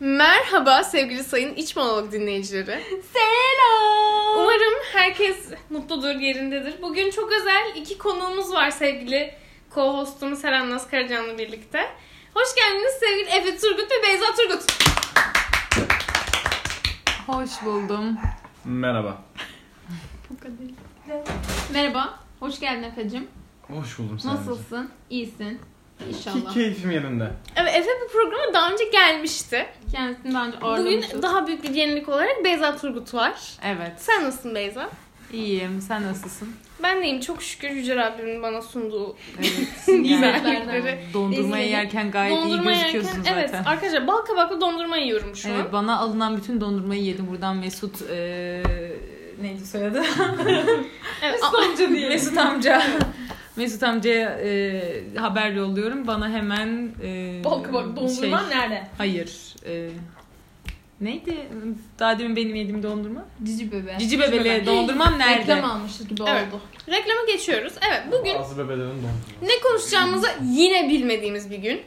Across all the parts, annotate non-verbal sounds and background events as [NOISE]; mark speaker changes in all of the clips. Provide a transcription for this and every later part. Speaker 1: Merhaba sevgili sayın iç monolog dinleyicileri.
Speaker 2: [LAUGHS]
Speaker 3: Selam.
Speaker 1: Umarım herkes mutludur, yerindedir. Bugün çok özel iki konuğumuz var sevgili co-hostumuz Seren Naz Karacan'la birlikte. Hoş geldiniz sevgili Efe Turgut ve Beyza Turgut.
Speaker 3: Hoş buldum.
Speaker 4: Merhaba.
Speaker 3: Merhaba. Hoş geldin Efe'cim.
Speaker 4: Hoş buldum seni.
Speaker 3: Nasılsın? İyisin.
Speaker 4: Ki
Speaker 3: İnşallah.
Speaker 4: keyfim yerinde.
Speaker 1: Evet Efe bu programa daha önce gelmişti.
Speaker 3: Kendisini daha önce
Speaker 1: Bugün
Speaker 3: ağırlamışız.
Speaker 1: daha büyük bir yenilik olarak Beyza Turgut var.
Speaker 2: Evet.
Speaker 1: Sen nasılsın Beyza?
Speaker 2: iyiyim. Sen
Speaker 3: [LAUGHS]
Speaker 2: nasılsın?
Speaker 1: Ben deyim çok şükür Yüce Rabbimin bana sunduğu
Speaker 2: Evet.
Speaker 1: güzellikleri.
Speaker 2: Dondurmayı
Speaker 3: Ezgi'nin
Speaker 2: yerken gayet iyi gözüküyorsun
Speaker 1: yerken-
Speaker 2: zaten.
Speaker 1: Evet arkadaşlar bal kabaklı dondurma yiyorum şu an.
Speaker 2: Evet, bana alınan bütün dondurmayı yedim. Buradan Mesut eee neydi
Speaker 3: [LAUGHS]
Speaker 2: soyadı?
Speaker 1: Evet.
Speaker 2: amca diye. Mesut amca. [LAUGHS] Mesut amcaya eee, haber yolluyorum. Bana hemen eee şey-
Speaker 3: nerede?
Speaker 2: hayır. eee, neydi? Daha demin benim yediğim dondurma.
Speaker 3: Cici bebe.
Speaker 2: Cici bebeli
Speaker 3: bebe.
Speaker 2: dondurmam nerede?
Speaker 3: Reklam almışız gibi
Speaker 1: Evet.
Speaker 3: oldu.
Speaker 1: Reklama geçiyoruz. Evet bugün
Speaker 4: Bazı bebelerin dondurma.
Speaker 1: ne konuşacağımızı yine bilmediğimiz bir gün.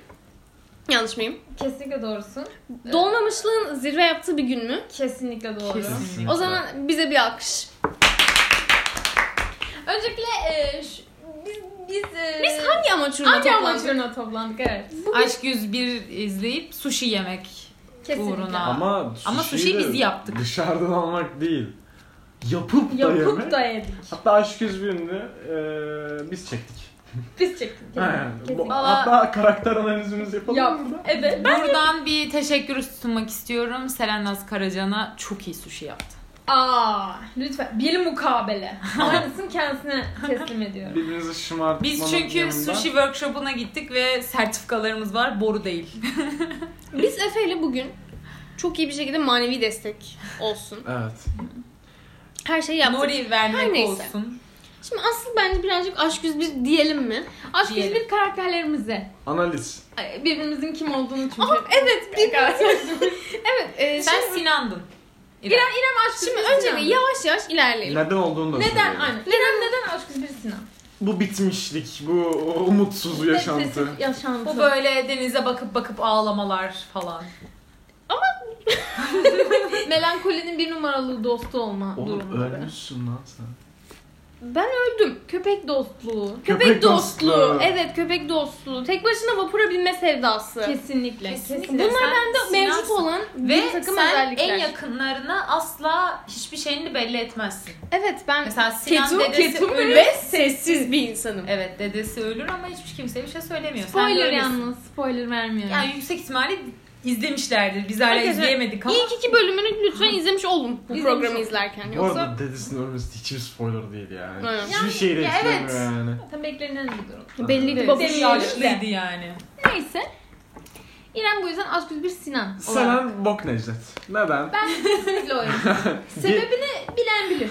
Speaker 1: Yanlış mıyım?
Speaker 3: Kesinlikle doğrusun.
Speaker 1: Dolmamışlığın zirve yaptığı bir gün mü?
Speaker 3: Kesinlikle doğru.
Speaker 2: Kesinlikle.
Speaker 1: O zaman bize bir alkış.
Speaker 3: Öncelikle e, şu- biz biz e,
Speaker 1: Biz Ee, hangi amaç uğruna
Speaker 3: hangi
Speaker 1: toplandık?
Speaker 3: amaçlarına toplandık evet.
Speaker 2: Aşk 101 izleyip sushi yemek.
Speaker 3: Kesinlikle.
Speaker 2: Uğruna.
Speaker 4: Ama sushi,
Speaker 2: Ama sushi'yi
Speaker 4: de
Speaker 2: biz yaptık.
Speaker 4: Dışarıdan almak değil. Yapıp da yemek.
Speaker 3: Yapıp da yedik.
Speaker 4: Hatta aşk 101'ini eee biz çektik.
Speaker 3: Biz çektik.
Speaker 4: Aynen. Bu-
Speaker 3: Kesinlikle.
Speaker 4: Hatta karakter analizimizi yapalım
Speaker 3: Yap.
Speaker 4: mı?
Speaker 3: Evet.
Speaker 2: Buradan bir teşekkür sunmak istiyorum. Seren Naz Karacan'a çok iyi sushi yaptı.
Speaker 3: Aa, lütfen bir mukabele. Aynısını kendisine teslim ediyorum.
Speaker 4: Birbirinizi şımartmanın
Speaker 2: Biz çünkü
Speaker 4: yanında-
Speaker 2: sushi workshop'una gittik ve sertifikalarımız var. Boru değil.
Speaker 1: Biz Efe'yle bugün çok iyi bir şekilde manevi destek olsun.
Speaker 4: Evet.
Speaker 1: Her şeyi yaptık.
Speaker 2: Nori
Speaker 1: Her
Speaker 2: vermek
Speaker 1: neyse.
Speaker 2: olsun.
Speaker 1: Şimdi asıl bence birazcık aşk 101 diyelim mi?
Speaker 3: Aşk
Speaker 2: Diyelim.
Speaker 3: bir karakterlerimize.
Speaker 4: Analiz.
Speaker 3: Ay, Birbirimizin kim olduğunu çünkü.
Speaker 1: Evet. Bir evet. e,
Speaker 2: Sen
Speaker 1: şimdi,
Speaker 2: Sinan'dın. İrem.
Speaker 3: İrem, İrem aşk
Speaker 1: şimdi
Speaker 3: bir
Speaker 1: önce bir
Speaker 3: Sinan.
Speaker 1: yavaş yavaş ilerleyelim.
Speaker 4: Neden olduğunu da
Speaker 3: Neden?
Speaker 4: söyleyelim.
Speaker 3: Aynen. İrem neden aşk bir Sinan?
Speaker 4: Bu bitmişlik, bu umutsuz yaşantı.
Speaker 3: Depresif yaşantı.
Speaker 2: Bu böyle denize bakıp bakıp ağlamalar falan.
Speaker 3: melankolinin bir numaralı dostu olma
Speaker 4: Oğlum
Speaker 3: durumu.
Speaker 4: ölmüşsün lan sen.
Speaker 1: Ben öldüm.
Speaker 3: Köpek dostluğu.
Speaker 1: Köpek,
Speaker 4: Köpek
Speaker 1: dostluğu.
Speaker 4: dostluğu.
Speaker 1: Evet köpek dostluğu. Tek başına vapura binme sevdası.
Speaker 3: Kesinlikle.
Speaker 2: Kesinlikle.
Speaker 3: Kesinlikle.
Speaker 1: Bunlar
Speaker 2: Sen
Speaker 1: bende
Speaker 2: Sinansın.
Speaker 1: mevcut olan
Speaker 2: Ve
Speaker 1: bir takım
Speaker 2: sen
Speaker 1: özellikler.
Speaker 2: en yakınlarına asla hiçbir şeyini belli etmezsin.
Speaker 1: Evet ben
Speaker 2: Mesela Sinan
Speaker 1: ketum,
Speaker 2: dedesi
Speaker 1: ketum
Speaker 2: ölür.
Speaker 1: ve sessiz bir insanım.
Speaker 2: Evet dedesi ölür ama hiçbir kimseye bir şey söylemiyor. Sen de
Speaker 3: Spoiler
Speaker 2: öylesin.
Speaker 3: yalnız. Spoiler vermiyorum.
Speaker 2: Yani yüksek ihtimalle izlemişlerdir. Biz hala
Speaker 1: Arkadaşlar,
Speaker 2: izleyemedik ama.
Speaker 1: İlk iki bölümünü lütfen izlemiş olun bu
Speaker 3: İzlemiş
Speaker 1: programı
Speaker 3: olun.
Speaker 1: izlerken.
Speaker 4: Bu
Speaker 1: Yoksa
Speaker 4: arada dedesinin ölmesi hiçbir spoiler değil yani.
Speaker 1: Evet.
Speaker 4: Hiçbir şeyi de
Speaker 3: ya
Speaker 4: etkilemiyor
Speaker 3: evet.
Speaker 4: yani.
Speaker 3: Tam beklenen bir durum.
Speaker 1: belli ki
Speaker 3: Evet.
Speaker 1: babam
Speaker 3: Demeyelim
Speaker 2: yaşlıydı
Speaker 3: de.
Speaker 2: yani.
Speaker 3: Neyse. İrem bu yüzden aşk bir Sinan. olarak.
Speaker 4: Selen bok Necdet. Neden?
Speaker 3: Ben kesinlikle oyum.
Speaker 4: Ge-
Speaker 3: Sebebini bilen bilir.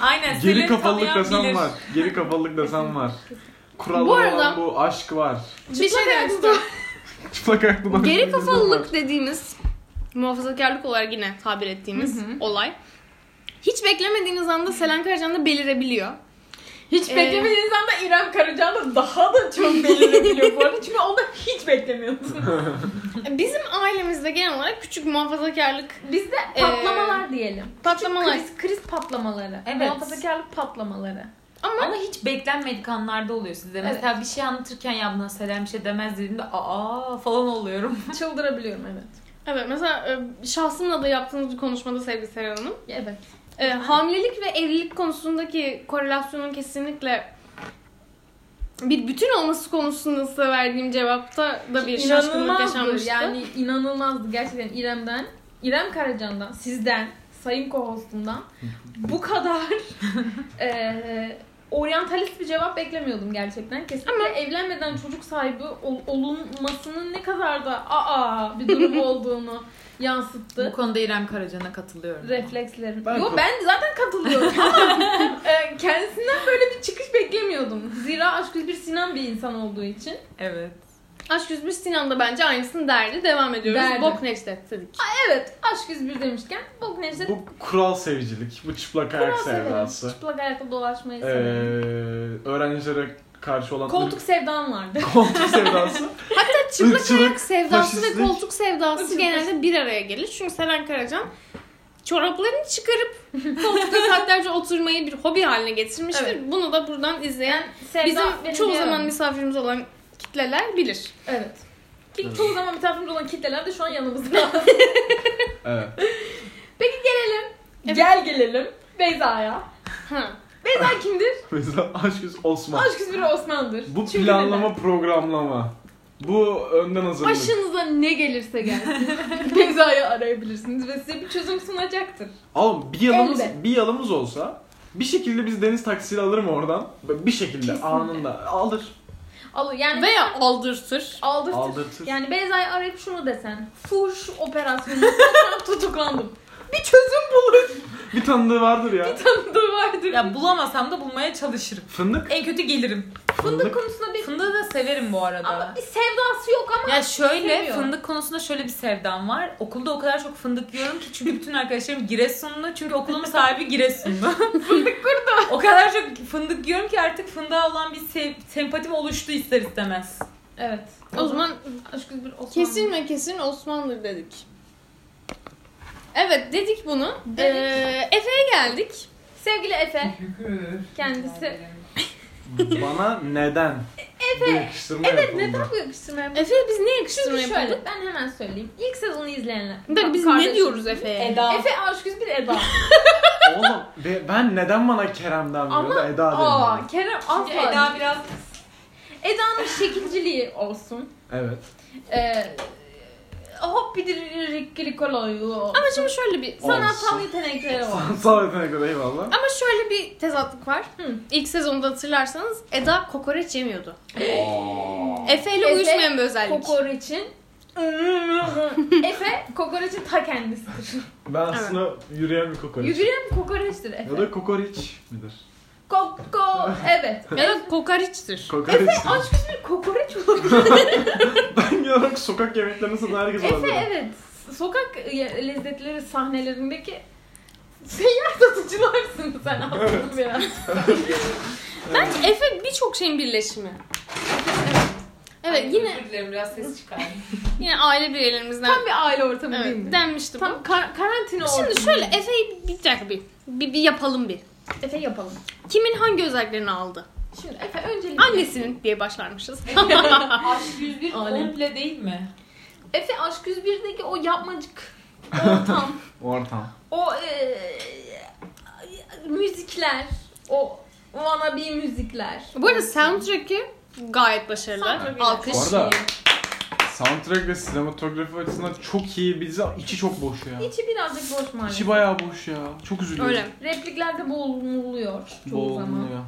Speaker 2: Aynen.
Speaker 4: geri
Speaker 2: Selen
Speaker 4: kafalılık
Speaker 2: tanıyan bilir.
Speaker 4: desen var. Geri kafalılık desen var. Kural
Speaker 1: Bu
Speaker 4: olan
Speaker 1: arada-
Speaker 4: bu aşk var. [LAUGHS]
Speaker 1: bir şey demek istiyorum.
Speaker 4: Çıplak ayaklı bakın.
Speaker 1: Geri kafalılık dediğimiz muhafazakarlık olarak yine tabir ettiğimiz
Speaker 3: Hı hı.
Speaker 1: olay. Hiç beklemediğiniz anda Selen Karacan'da belirebiliyor.
Speaker 3: Hiç
Speaker 1: Ee,
Speaker 3: beklemediğiniz anda İrem Karacan da daha da çok belirlebiliyor [LAUGHS] bu arada. Çünkü onu da hiç beklemiyorsunuz.
Speaker 1: Bizim ailemizde genel olarak küçük muhafazakarlık
Speaker 3: Bizde patlamalar diyelim.
Speaker 1: patlamalar.
Speaker 3: Kriz, kriz patlamaları.
Speaker 2: Evet.
Speaker 3: Muhafazakarlık patlamaları.
Speaker 1: Ama
Speaker 2: Ama hiç beklenmedik anlarda oluyor size. Mesela bir şey anlatırken ya buna Selen bir şey demez dediğimde aa falan oluyorum.
Speaker 3: Çıldırabiliyorum evet.
Speaker 1: Evet mesela e, şahsımla da yaptığınız bir konuşmada sevgili Seren Hanım.
Speaker 3: Evet.
Speaker 1: e, hamilelik ve evlilik konusundaki korelasyonun kesinlikle bir bütün olması konusunda size verdiğim cevapta da bir şaşkınlık yaşanmıştı. Yani...
Speaker 3: Yani inanılmazdı gerçekten İrem'den. İrem Karacan'dan, sizden, sayın co-hostumdan bu kadar [LAUGHS] eee oryantalist bir cevap beklemiyordum gerçekten. Kesinlikle evlenmeden çocuk sahibi ol- olunmasının ne kadar da aa
Speaker 1: [LAUGHS]
Speaker 3: bir durum olduğunu
Speaker 2: [LAUGHS] Bu
Speaker 3: yansıttı.
Speaker 2: konuda İrem Karacan'a katılıyorum.
Speaker 3: reflekslerim.
Speaker 4: Ben
Speaker 3: Yo
Speaker 4: kat-
Speaker 3: ben zaten katılıyorum ama
Speaker 1: [LAUGHS]
Speaker 3: eee, kendisinden böyle bir çıkış beklemiyordum. Zira aşk bir Sinan bir insan olduğu için.
Speaker 2: [LAUGHS] Evet.
Speaker 1: Aşk 101 Sinan da bence aynısını derdi. Devam ediyoruz.
Speaker 3: Derdi.
Speaker 1: Bok Necdet dedik.
Speaker 3: Evet, aşk 101 demişken bu neyse
Speaker 4: Bu kural sevicilik, bu çıplak ayak
Speaker 3: severim.
Speaker 4: sevdası.
Speaker 3: Çıplak ayakla dolaşmayı
Speaker 4: Ee,
Speaker 3: severim.
Speaker 4: öğrencilere karşı olan
Speaker 3: Koltuk sevdan
Speaker 4: [LAUGHS]
Speaker 3: vardı.
Speaker 4: ırk- koltuk sevdası.
Speaker 1: Hatta çıplak
Speaker 4: Irkçılık,
Speaker 1: ayak sevdası ve
Speaker 4: faşistlik.
Speaker 1: koltuk sevdası genelde bir araya gelir. Çünkü Selen Karacan çoraplarını çıkarıp [LAUGHS] koltukta saatlerce oturmayı bir hobi haline getirmiştir.
Speaker 3: Evet.
Speaker 1: Bunu da buradan izleyen
Speaker 3: Sevda
Speaker 1: bizim
Speaker 3: benim
Speaker 1: çoğu
Speaker 3: bir
Speaker 1: zaman
Speaker 3: aram.
Speaker 1: misafirimiz olan kitleler bilir.
Speaker 3: Evet. Ki
Speaker 4: Evet.
Speaker 3: çoğu zaman misafirimiz olan kitleler de şu an yanımızda.
Speaker 4: Evet.
Speaker 1: Evet.
Speaker 3: Gel gelelim Beyza'ya.
Speaker 1: Ha.
Speaker 3: Beyza kimdir?
Speaker 4: Mesela Aşküs Osman.
Speaker 3: Aşk Üzbiri Osman'dır.
Speaker 4: Bu
Speaker 3: Çünkü
Speaker 4: planlama programlama. Bu önden
Speaker 3: neden?
Speaker 4: hazırlık.
Speaker 3: Başınıza ne gelirse [LAUGHS] gelsin. Beyza'yı arayabilirsiniz ve size bir çözüm sunacaktır.
Speaker 4: Ama bir yalımız,
Speaker 3: Elde.
Speaker 4: bir yalımız olsa bir şekilde biz deniz taksiyle alırım oradan. Bir şekilde
Speaker 3: Kesinlikle.
Speaker 4: anında alır.
Speaker 3: Al yani
Speaker 1: Veya aldırtır.
Speaker 3: aldırtır.
Speaker 4: Aldırtır.
Speaker 3: Yani Beyza'yı arayıp şunu desen. Fuş operasyonu [LAUGHS] ben tutuklandım. Bir çözüm bulur.
Speaker 4: Bir tanıdığı vardır ya.
Speaker 3: Tanıdığı vardır.
Speaker 2: Ya bulamasam da bulmaya çalışırım.
Speaker 4: Fındık.
Speaker 2: En kötü gelirim.
Speaker 3: E, Fındık konusunda bir...
Speaker 2: Fındığı da severim bu arada.
Speaker 3: Ama bir sevdası yok ama
Speaker 2: Ya şöyle
Speaker 3: Seviyor.
Speaker 2: fındık konusunda şöyle bir sevdam var. Okulda o kadar çok fındık yiyorum ki çünkü bütün arkadaşlarım Giresunlu. Çünkü okulumun sahibi Giresunlu.
Speaker 3: [LAUGHS]
Speaker 2: fındık kurdu. O kadar çok fındık yiyorum ki artık fındığa olan bir se- sempatim oluştu ister istemez.
Speaker 3: Evet.
Speaker 1: O zaman
Speaker 3: aşk bir Osman.
Speaker 1: kesin ve kesin Osmanlı dedik. Evet dedik bunu.
Speaker 3: Dedik.
Speaker 1: Ee, Efe'ye geldik.
Speaker 3: Sevgili Efe kendisi.
Speaker 4: Bana neden? Evet. yakıştırma
Speaker 3: Evet
Speaker 4: yapıldı.
Speaker 3: neden bu yakıştırma yapıldı?
Speaker 1: Efe'ye biz ne
Speaker 3: Şimdi
Speaker 1: yakıştırma yapalım?
Speaker 3: şöyle ben hemen söyleyeyim. İlk sezonu izleyenler.
Speaker 1: Bir dakika, biz
Speaker 3: Kardeşim.
Speaker 1: ne diyoruz Efe'ye?
Speaker 2: Eda.
Speaker 3: Efe aşk bir Eda.
Speaker 4: Oğlum be- ben neden bana Kerem'den
Speaker 3: Ama-
Speaker 4: diyor da Eda
Speaker 3: Aa
Speaker 4: demiyor?
Speaker 3: Kerem asla.
Speaker 2: Eda biraz
Speaker 3: Eda'nın şekilciliği olsun.
Speaker 4: Evet. [LAUGHS]
Speaker 3: Ee, hop bir dirikli koloyu.
Speaker 1: Ama şimdi şöyle bir
Speaker 3: Sanatsal
Speaker 4: Olsun.
Speaker 3: yetenekleri var.
Speaker 4: Sağ ol yetenekler eyvallah.
Speaker 1: Ama şöyle bir tezatlık var.
Speaker 3: Hı.
Speaker 1: İlk sezonda hatırlarsanız Eda kokoreç yemiyordu.
Speaker 4: Aa.
Speaker 1: Efe ile
Speaker 3: Efe
Speaker 1: uyuşmayan bir özellik. [LAUGHS]
Speaker 3: Kokoreç'in Efe kokoreçin ta kendisidir.
Speaker 4: Ben aslında yürüyen bir kokoreç.
Speaker 3: Yürüyen kokoreçtir
Speaker 4: Ya
Speaker 3: Efe.
Speaker 4: da kokoreç midir?
Speaker 3: Koko evet.
Speaker 1: ya da kokoreçtir.
Speaker 4: Kokoreç.
Speaker 3: Aşk bir kokoreç olabilir.
Speaker 4: ben genel olarak sokak yemeklerini satan herkes
Speaker 3: Efe
Speaker 4: olabilirim.
Speaker 3: evet. Sokak e, lezzetleri sahnelerindeki [LAUGHS] seyyar satıcılarsın sen aslında biraz.
Speaker 1: Bence Efe birçok şeyin birleşimi. Evet. Evet yine
Speaker 2: biraz ses
Speaker 3: [LAUGHS]
Speaker 2: çıkar.
Speaker 1: yine aile bireylerimizden
Speaker 3: Tam bir aile ortamı
Speaker 1: evet,
Speaker 3: değil mi?
Speaker 1: denmişti bu.
Speaker 3: Tam kar- karantina ortamı.
Speaker 1: Şimdi şöyle Efe'yi bir dakika bir, bir, bir yapalım bir.
Speaker 3: Efe yapalım.
Speaker 1: Kimin hangi özelliklerini aldı?
Speaker 3: Şimdi Efe öncelikle...
Speaker 1: Annesinin diye
Speaker 4: [LAUGHS]
Speaker 1: başlarmışız.
Speaker 2: Aşk 101
Speaker 3: Alem.
Speaker 2: komple değil mi?
Speaker 3: Efe Aşk 101'deki o [LAUGHS] yapmacık ortam,
Speaker 4: Ortam.
Speaker 3: o eee, müzikler, o wannabe müzikler.
Speaker 1: bu arada soundtrack'i gayet başarılı.
Speaker 3: Soundtrack'i-
Speaker 1: Alkış.
Speaker 4: Bu arada soundtrack ve sinematografi açısından çok iyi bir dizi ama içi çok boş ya.
Speaker 3: İçi birazcık boş maalesef.
Speaker 4: İçi bayağı boş ya. Çok üzülüyorum.
Speaker 1: Öyle.
Speaker 3: Repliklerde boğululuyor çoğu zaman.
Speaker 4: Boğuluyor.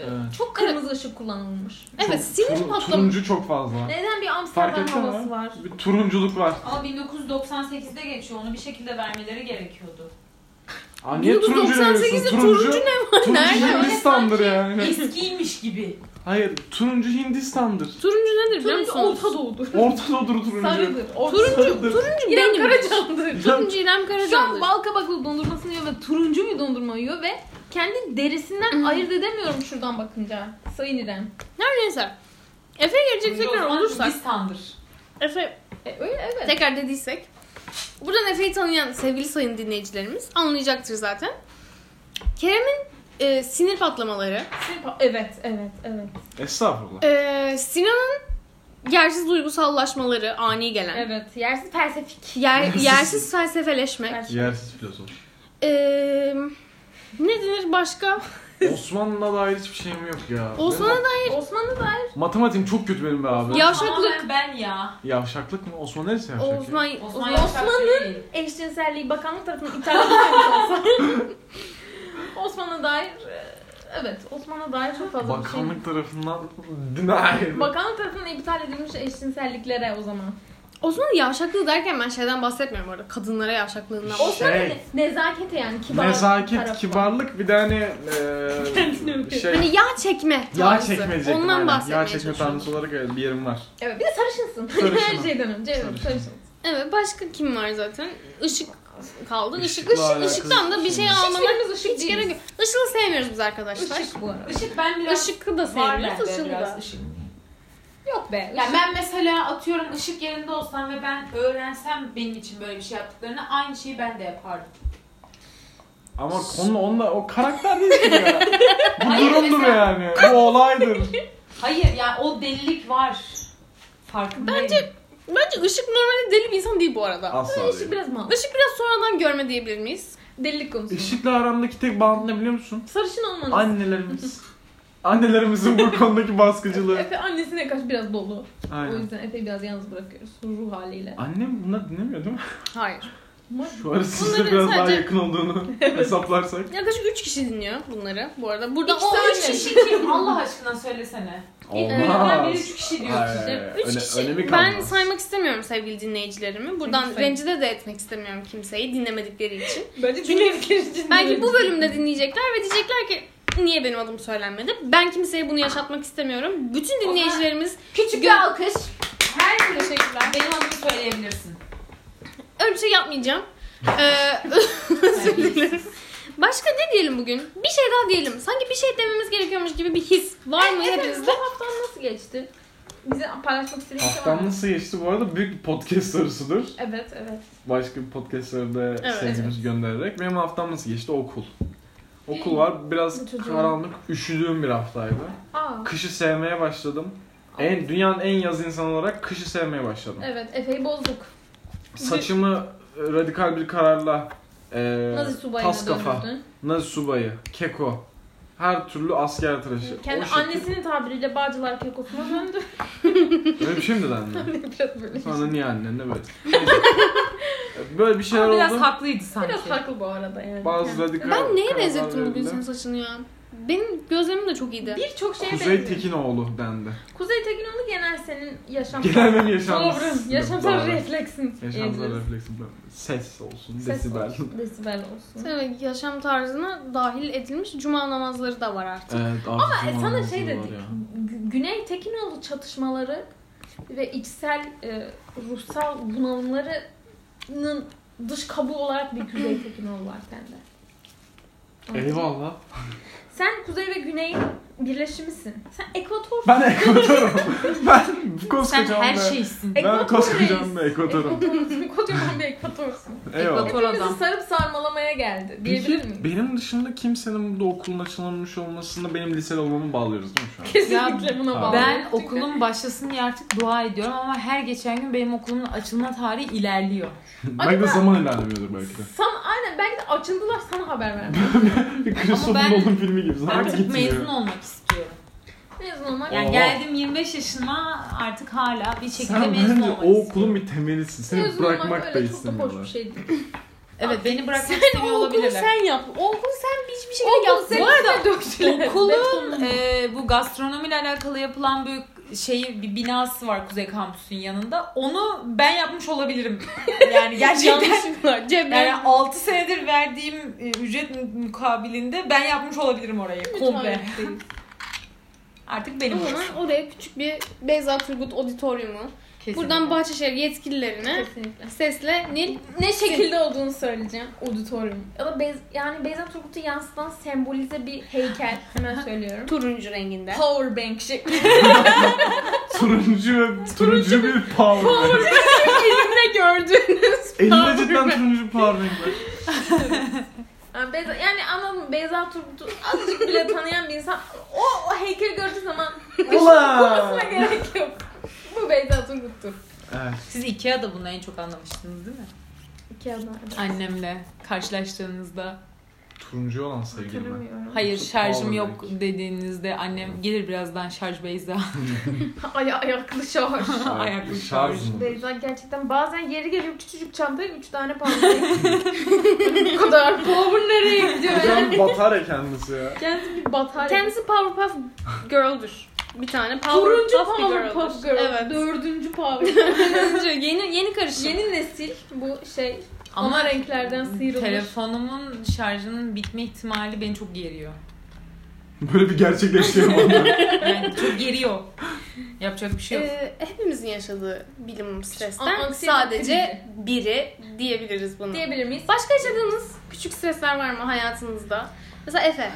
Speaker 4: Evet.
Speaker 3: Çok kırmızı ışık kullanılmış.
Speaker 1: Ee, Evet sinir
Speaker 4: Tur-
Speaker 1: patlaması.
Speaker 4: Turuncu çok fazla.
Speaker 3: Neden bir
Speaker 4: Fark
Speaker 3: Amsterdam
Speaker 4: ettin mi?
Speaker 3: havası var?
Speaker 4: Bir turunculuk var.
Speaker 5: Ama 1998'de geçiyor. Onu bir şekilde vermeleri gerekiyordu.
Speaker 4: Aa, niye turuncu
Speaker 1: 1998'de
Speaker 4: demiyorsun?
Speaker 1: turuncu
Speaker 4: Turuncu,
Speaker 1: var?
Speaker 4: turuncu
Speaker 1: Nerede?
Speaker 4: Hindistan'dır yani.
Speaker 5: Eskiymiş gibi.
Speaker 4: Hayır, turuncu Hindistan'dır.
Speaker 1: Turuncu nedir biliyor
Speaker 3: Turuncu
Speaker 1: musunuz?
Speaker 3: Orta Doğu'dur.
Speaker 4: Orta Doğu'dur turuncu.
Speaker 3: Sarıdır. Orta
Speaker 1: Turuncu,
Speaker 4: Sarıdır.
Speaker 1: turuncu
Speaker 3: İrem
Speaker 1: benim.
Speaker 3: Karacan'dır.
Speaker 1: Turuncu İrem
Speaker 3: Şu an
Speaker 1: Karacan'dır.
Speaker 3: bal kabaklı dondurmasını yiyor ve turuncu bir dondurma yiyor ve kendi
Speaker 1: Hmm.
Speaker 3: derisinden ayırt edemiyorum şuradan bakınca. Sayın İrem.
Speaker 1: Her neyse. Efe'ye gelecek tekrar olursak.
Speaker 2: Hindistan'dır.
Speaker 1: Efe
Speaker 3: E, öyle evet.
Speaker 1: tekrar dediysek. Buradan Efe'yi tanıyan sevgili sayın dinleyicilerimiz anlayacaktır zaten. Kerem'in e, sinir patlamaları,
Speaker 3: Sinir- Şey, Evet, evet, evet.
Speaker 4: Estağfurullah.
Speaker 1: e, Sinan'ın yersiz duygusallaşmaları ani gelen,
Speaker 3: Evet, yersiz felsefik.
Speaker 1: yer, yersiz felsefeleşme,
Speaker 3: Felsefe.
Speaker 4: Yersiz filozof.
Speaker 1: e, ne denir başka?
Speaker 4: Osmanlı'na dair hiçbir şeyim yok ya.
Speaker 1: Osman'a
Speaker 4: Benim-
Speaker 3: Osmanlı da
Speaker 4: Matematiğim çok kötü benim be abi.
Speaker 1: Ya- Yavşaklık.
Speaker 5: Yavşaklık. Ben ya.
Speaker 4: Yavşaklık mı? Osman neresi yavşak ya?
Speaker 1: Osman,
Speaker 5: Osman
Speaker 1: Osman,
Speaker 5: Yavşak değil.
Speaker 3: eşcinselliği bakanlık tarafından iptal
Speaker 1: [LAUGHS]
Speaker 3: edilmiş olsa. Osman'a dair, e, evet Osman'a dair çok fazla bir
Speaker 4: Bakanlık tarafından [LAUGHS] denied.
Speaker 3: şey. Bakanlık tarafından iptal edilmiş eşcinselliklere o zaman.
Speaker 1: Osman'ın yavşaklığı derken ben şeyden bahsetmiyorum orada. Kadınlara yavşaklığından
Speaker 4: Şey,
Speaker 3: Osman'ın ne- nezakete yani kibar
Speaker 4: Nezaket,
Speaker 3: tarafı.
Speaker 4: kibarlık bir de hani eee,
Speaker 3: Kendini
Speaker 4: şey,
Speaker 1: Hani yağ çekme
Speaker 4: yağ
Speaker 1: tarzı.
Speaker 4: çekmeyecek.
Speaker 1: Ondan
Speaker 4: aynen.
Speaker 1: bahsetmeye
Speaker 4: Yağ çekme
Speaker 1: çalışıyorum.
Speaker 4: tanrısı olarak öyle bir yerim var.
Speaker 3: Evet, bir de sarışınsın. [LAUGHS]
Speaker 4: Sarışınım.
Speaker 3: Her şeyden önce evet,
Speaker 4: Sarışınım.
Speaker 3: sarışınsın.
Speaker 1: Evet başka kim var zaten? Işık kaldın. Işık,
Speaker 4: Işıkla
Speaker 1: ışık-
Speaker 4: alakalı
Speaker 1: ışıktan da bir şey
Speaker 4: bir şey.
Speaker 1: almamak
Speaker 3: Hiçbirimiz ışık
Speaker 1: hiç
Speaker 3: değiliz.
Speaker 1: gerek yok. Işığı sevmiyoruz biz arkadaşlar.
Speaker 3: Işık bu arada.
Speaker 5: Işık ben biraz
Speaker 1: Işıkı da
Speaker 5: var
Speaker 1: sevmiyoruz,
Speaker 5: bende
Speaker 1: ışığı da.
Speaker 5: biraz ışık.
Speaker 3: Yok be.
Speaker 5: Yani ben mesela atıyorum ışık yerinde olsam ve ben öğrensem benim için böyle bir şey yaptıklarını aynı şeyi ben de yapardım.
Speaker 4: Ama konu onunla o karakter değil ki ya. Bu
Speaker 5: Hayır,
Speaker 4: durumdur
Speaker 5: mesela-
Speaker 4: yani. Bu olaydır.
Speaker 5: Hayır yani o delilik var. Farkındayım. Bence
Speaker 1: Bence Işık normalde deli bir insan değil bu arada.
Speaker 4: Asla
Speaker 3: Işık
Speaker 4: değil.
Speaker 3: biraz mal.
Speaker 1: Işık biraz sonradan görme diyebilir miyiz?
Speaker 3: Delilik konusu.
Speaker 4: Işıkla aramdaki tek bağlantı ne biliyor musun?
Speaker 3: Sarışın olmanız.
Speaker 4: Annelerimiz. Annelerimizin bu konudaki baskıcılığı.
Speaker 3: Efe annesine karşı biraz dolu. [LAUGHS] O
Speaker 4: Aynen.
Speaker 3: yüzden Efe'yi biraz yalnız bırakıyoruz ruh haliyle.
Speaker 4: Annem bunları dinlemiyor değil mi?
Speaker 1: Hayır.
Speaker 3: Ama
Speaker 4: Şu ara sizle
Speaker 1: Bunları
Speaker 4: biraz daha
Speaker 1: sadece-
Speaker 4: yakın olduğunu hesaplarsak.
Speaker 1: Yaklaşık 3 kişi dinliyor bunları bu arada. Burada
Speaker 3: İkisi
Speaker 1: o
Speaker 3: öyle.
Speaker 1: üç kişi.
Speaker 5: kişi kim Allah aşkına söylesene.
Speaker 3: e, Ee,
Speaker 5: Birinden biri üç kişi diyor.
Speaker 4: Hayır,
Speaker 5: size.
Speaker 4: hayır, hayır.
Speaker 1: Üç
Speaker 4: Ee, Öne-
Speaker 1: kişi.
Speaker 4: önemi
Speaker 1: ben
Speaker 4: kalmaz.
Speaker 1: saymak istemiyorum sevgili dinleyicilerimi. Buradan
Speaker 3: Lütfen.
Speaker 1: rencide de etmek istemiyorum kimseyi dinlemedikleri için.
Speaker 3: Bence dinleyiciler
Speaker 1: Belki bu bölümde dinleyecekler ve diyecekler ki niye benim adım söylenmedi? Ben kimseye bunu yaşatmak istemiyorum. Bütün dinleyicilerimiz
Speaker 3: küçük bir alkış.
Speaker 5: Her türlü teşekkürler. Benim adımı söyleyebilirsin.
Speaker 1: öyle bir şey yapmayacağım. Ee, [LAUGHS] özür dilerim. Başka ne diyelim bugün? Bir şey daha diyelim. Sanki bir şey dememiz gerekiyormuş gibi bir his var mı hepinizde?
Speaker 3: Haftan nasıl geçti? Bize paylaşmak istediğiniz şey
Speaker 4: [LAUGHS]
Speaker 3: var
Speaker 4: Haftam
Speaker 3: mı?
Speaker 4: nasıl geçti bu arada büyük bir podcast sorusudur.
Speaker 3: Evet evet.
Speaker 4: Başka bir podcastlerde
Speaker 1: Evet.
Speaker 4: sevgimizi göndererek. Benim haftam nasıl geçti? Okul. Okul var. Biraz
Speaker 3: Bu çocuğun-
Speaker 4: karanlık, üşüdüğüm bir haftaydı.
Speaker 3: Aa.
Speaker 4: Kışı sevmeye başladım. En dünyanın en yaz insanı olarak kışı sevmeye başladım.
Speaker 3: Evet Efe'yi bozduk.
Speaker 4: Saçımı e, radikal bir kararla e,
Speaker 3: Nazi subayına
Speaker 4: tas kafa,
Speaker 3: döndürdün.
Speaker 4: Nazi subayı, keko, her türlü asker tıraşı. Şey,
Speaker 3: Kendi
Speaker 4: O şekil-
Speaker 3: annesinin tabiriyle
Speaker 4: [LAUGHS]
Speaker 3: Bağcılar Kekos'una döndü.
Speaker 4: Öyle bir şey mi dedi
Speaker 3: [LAUGHS]
Speaker 4: anne?
Speaker 3: biraz böyle.
Speaker 4: Sonra niye annen de böyle? böyle bir şeyler
Speaker 2: Ama biraz
Speaker 4: oldu.
Speaker 2: haklıydı sanki.
Speaker 3: Biraz haklı bu arada yani.
Speaker 4: Bazı radikal
Speaker 1: Ben neye
Speaker 4: kararlar
Speaker 1: benzettim bugün
Speaker 4: verildi.
Speaker 1: senin saçını ya? Benim gözlerim de çok iyiydi.
Speaker 3: Birçok şeye
Speaker 4: Kuzey
Speaker 3: benziyor.
Speaker 4: Tekinoğlu dendi.
Speaker 3: Kuzey Tekinoğlu genel senin yaşam
Speaker 4: Genel benim yaşam-
Speaker 3: Tavrın, yaşamsal
Speaker 4: Doğru.
Speaker 3: refleksin.
Speaker 4: Yaşamsal
Speaker 3: diyebiliriz.
Speaker 4: refleksi. Ses olsun,
Speaker 3: Ses
Speaker 4: desibel.
Speaker 3: olsun, Desibel olsun.
Speaker 1: Tabii yaşam tarzına dahil edilmiş cuma namazları da var artık.
Speaker 4: Evet, Ama
Speaker 3: E, sana şey dedik. Gü- Güney Tekinoğlu çatışmaları ve içsel e, ruhsal bunalımlarının dış kabuğu olarak bir Kuzey Tekinoğlu var sende. Anladın mı?
Speaker 4: Eyvallah.
Speaker 3: Sen Kuzey ve Güney'in birleşimisin. Sen ekvator.
Speaker 4: Ben ekvatorum. ben
Speaker 2: Sen
Speaker 4: koskocaman
Speaker 2: her
Speaker 4: bir-
Speaker 2: şeysin.
Speaker 4: Ben
Speaker 3: Ekvator
Speaker 4: koskocaman
Speaker 3: reis.
Speaker 4: bir ekvatorum.
Speaker 3: Ekvatorsun. Kocaman bir ekvatorsun.
Speaker 4: Eyvallah.
Speaker 2: Ekvator adam.
Speaker 3: Hepimizi sarıp sarmalamaya geldi. Diyebilir
Speaker 4: Peki,
Speaker 3: miyim?
Speaker 4: benim dışında kimsenin burada okulun açılmamış olmasını benim lisede olmamı bağlıyoruz değil mi şu an?
Speaker 3: Kesinlikle buna
Speaker 4: Ya,
Speaker 3: bağlı.
Speaker 2: Ben
Speaker 3: Çünkü-
Speaker 2: okulun başlasın diye artık dua ediyorum ama her geçen gün benim okulumun açılma tarihi ilerliyor.
Speaker 4: belki de zaman ilerlemiyordur belki de.
Speaker 3: Sana, aynen belki de açıldılar sana haber vermem.
Speaker 4: [LAUGHS] Bir Christopher
Speaker 2: ben
Speaker 4: Nolan filmi gibi zaman
Speaker 2: Artık
Speaker 4: gitmiyor.
Speaker 2: mezun olmak istiyorum.
Speaker 3: Mezun olmak.
Speaker 2: Yani
Speaker 4: Oha.
Speaker 2: geldim 25 yaşıma artık hala bir şekilde
Speaker 4: Sen
Speaker 2: mezun
Speaker 4: bence
Speaker 2: olmak
Speaker 4: o
Speaker 2: istiyorum.
Speaker 4: okulun bir temelisin. Seni
Speaker 3: Mezun olmak
Speaker 4: bırakmak da
Speaker 3: öyle çok da hoş bir
Speaker 4: istemiyorlar.
Speaker 3: şey değil.
Speaker 2: Evet beni bırakmak istemiyor olabilirler.
Speaker 1: yap. O okulu sen hiçbir
Speaker 3: Bu arada [LAUGHS] döktüler.
Speaker 2: [LAUGHS] Okulun e, bu gastronomiyle alakalı yapılan büyük şeyi bir binası var Kuzey Kampüsü'nün yanında. Onu ben yapmış olabilirim. [LAUGHS] Yani gerçekten
Speaker 1: Yanlışlıkla. Cebren.
Speaker 2: yani 6 senedir verdiğim e, ücret mü- mukabilinde ben yapmış olabilirim orayı komple. [LAUGHS] Artık
Speaker 3: [LAUGHS]
Speaker 2: benim
Speaker 1: o zaman oraya küçük bir Beyza Turgut Auditoriumu.
Speaker 2: Kesinlikle.
Speaker 1: Buradan Bahçeşehir yetkililerine
Speaker 3: Kesinlikle.
Speaker 1: sesle Nil
Speaker 3: Ne şekilde olduğunu söyleyeceğim. Auditorium. Ama Beyz, yani Beyza Turgut'u yansıtan sembolize bir heykel. Hemen söylüyorum.
Speaker 1: turuncu renginde.
Speaker 3: Power bank şeklinde
Speaker 4: Turuncu ve turuncu bir power. bank.
Speaker 3: gördüğünüz.
Speaker 4: Elinde cidden turuncu power bank var.
Speaker 3: Yani, Beyza, yani anladın mı? Beyza Turgut'u azıcık bile tanıyan bir insan o, o heykeli gördüğü zaman
Speaker 4: Ula!
Speaker 3: buna gerek yok. Bu Beyza Turgut'tur.
Speaker 4: Evet.
Speaker 2: Siz Ikea'da bunu en çok anlamıştınız değil mi?
Speaker 3: İki adım.
Speaker 2: Annemle karşılaştığınızda.
Speaker 4: Turuncu olan sevgilim ben.
Speaker 2: Hayır şarjım
Speaker 4: Power
Speaker 2: yok
Speaker 4: bank.
Speaker 2: dediğinizde annem gelir birazdan şarj Beyza.
Speaker 3: Ay ayaklı şarj.
Speaker 2: Ayaklı
Speaker 4: şarj mı?
Speaker 3: [LAUGHS] Beyza gerçekten bazen yeri geliyor küçücük çantaya 3 tane pantolon. Bu kadar power nereye gidiyor yani?
Speaker 4: Hocam batar ya kendisi ya.
Speaker 3: Kendisi bir batarya.
Speaker 1: Kendisi Powerpuff Girl'dür. Bir tane
Speaker 3: Turuncu
Speaker 1: Powerpuff bir
Speaker 3: Powerpuff
Speaker 1: girl'dür.
Speaker 3: Girl.
Speaker 1: Evet.
Speaker 3: Dördüncü Power.
Speaker 1: Turuncu. Yeni, yeni karışım.
Speaker 3: Yeni nesil bu şey
Speaker 2: Ama
Speaker 3: ana renklerden sıyrılmış.
Speaker 2: telefonumun şarjının bitme ihtimali beni çok geriyor.
Speaker 4: Böyle bir gerçekleşiyor bana.
Speaker 2: Yani çok geriyor. Yapacak bir şey yok.
Speaker 1: Ee, hepimizin yaşadığı bilim
Speaker 3: An-
Speaker 1: stresten
Speaker 3: anksiyete
Speaker 1: sadece biri diyebiliriz bunu.
Speaker 3: Diyebilir miyiz?
Speaker 1: Başka yaşadığınız küçük stresler var mı hayatınızda? Mesela Efe,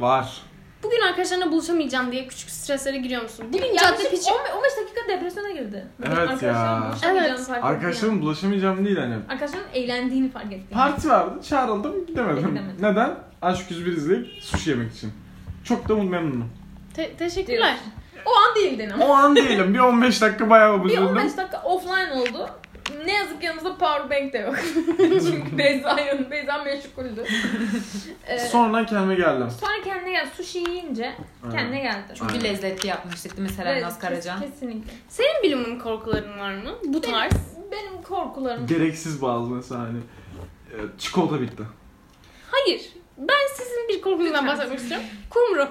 Speaker 4: Var.
Speaker 1: bugün arkadaşlarına buluşamayacağım diye küçük streslere giriyor musun? Bugün
Speaker 3: Bugün
Speaker 1: cadde
Speaker 3: yaklaşık
Speaker 1: piçi...
Speaker 3: 15 dakika depresyona girdi.
Speaker 4: Evet ya.
Speaker 1: Evet.
Speaker 4: Arkadaşlarım bulaşamayacağım değil hani.
Speaker 3: Arkadaşların eğlendiğini fark ettim.
Speaker 4: Parti vardı çağrıldım gidemedim.
Speaker 3: Gidemedim.
Speaker 4: Neden? Aşk 101 izleyip sushi yemek için. Çok da memnunum.
Speaker 1: Te- teşekkürler.
Speaker 3: O an değildin ama.
Speaker 4: O an diyelim bir 15 dakika bayağı
Speaker 3: Bir
Speaker 4: bozuldu.
Speaker 3: 15 dakika offline oldu. Ne yazık ki yanımızda powerbank de yok. [LAUGHS] Çünkü Beyza yanı, Beyza meşguldü. ee,
Speaker 4: Sonra kendime geldim.
Speaker 3: sonra kendine geldi. Sushi yiyince kendine geldi.
Speaker 2: Çünkü
Speaker 4: Aynen.
Speaker 2: lezzetli yapmıştık değil mi Selen
Speaker 3: Ve
Speaker 2: Naz Karacan?
Speaker 3: kes- Kesinlikle.
Speaker 1: Senin bilimin korkuların var mı? Bu tarz.
Speaker 3: Benim korkularım.
Speaker 4: Gereksiz bazı mesela hani. e, Çikolata bitti.
Speaker 1: Hayır. Ben sizin bir korkunuzdan
Speaker 3: Lütfen.
Speaker 1: bahsetmek istiyorum. Kumru.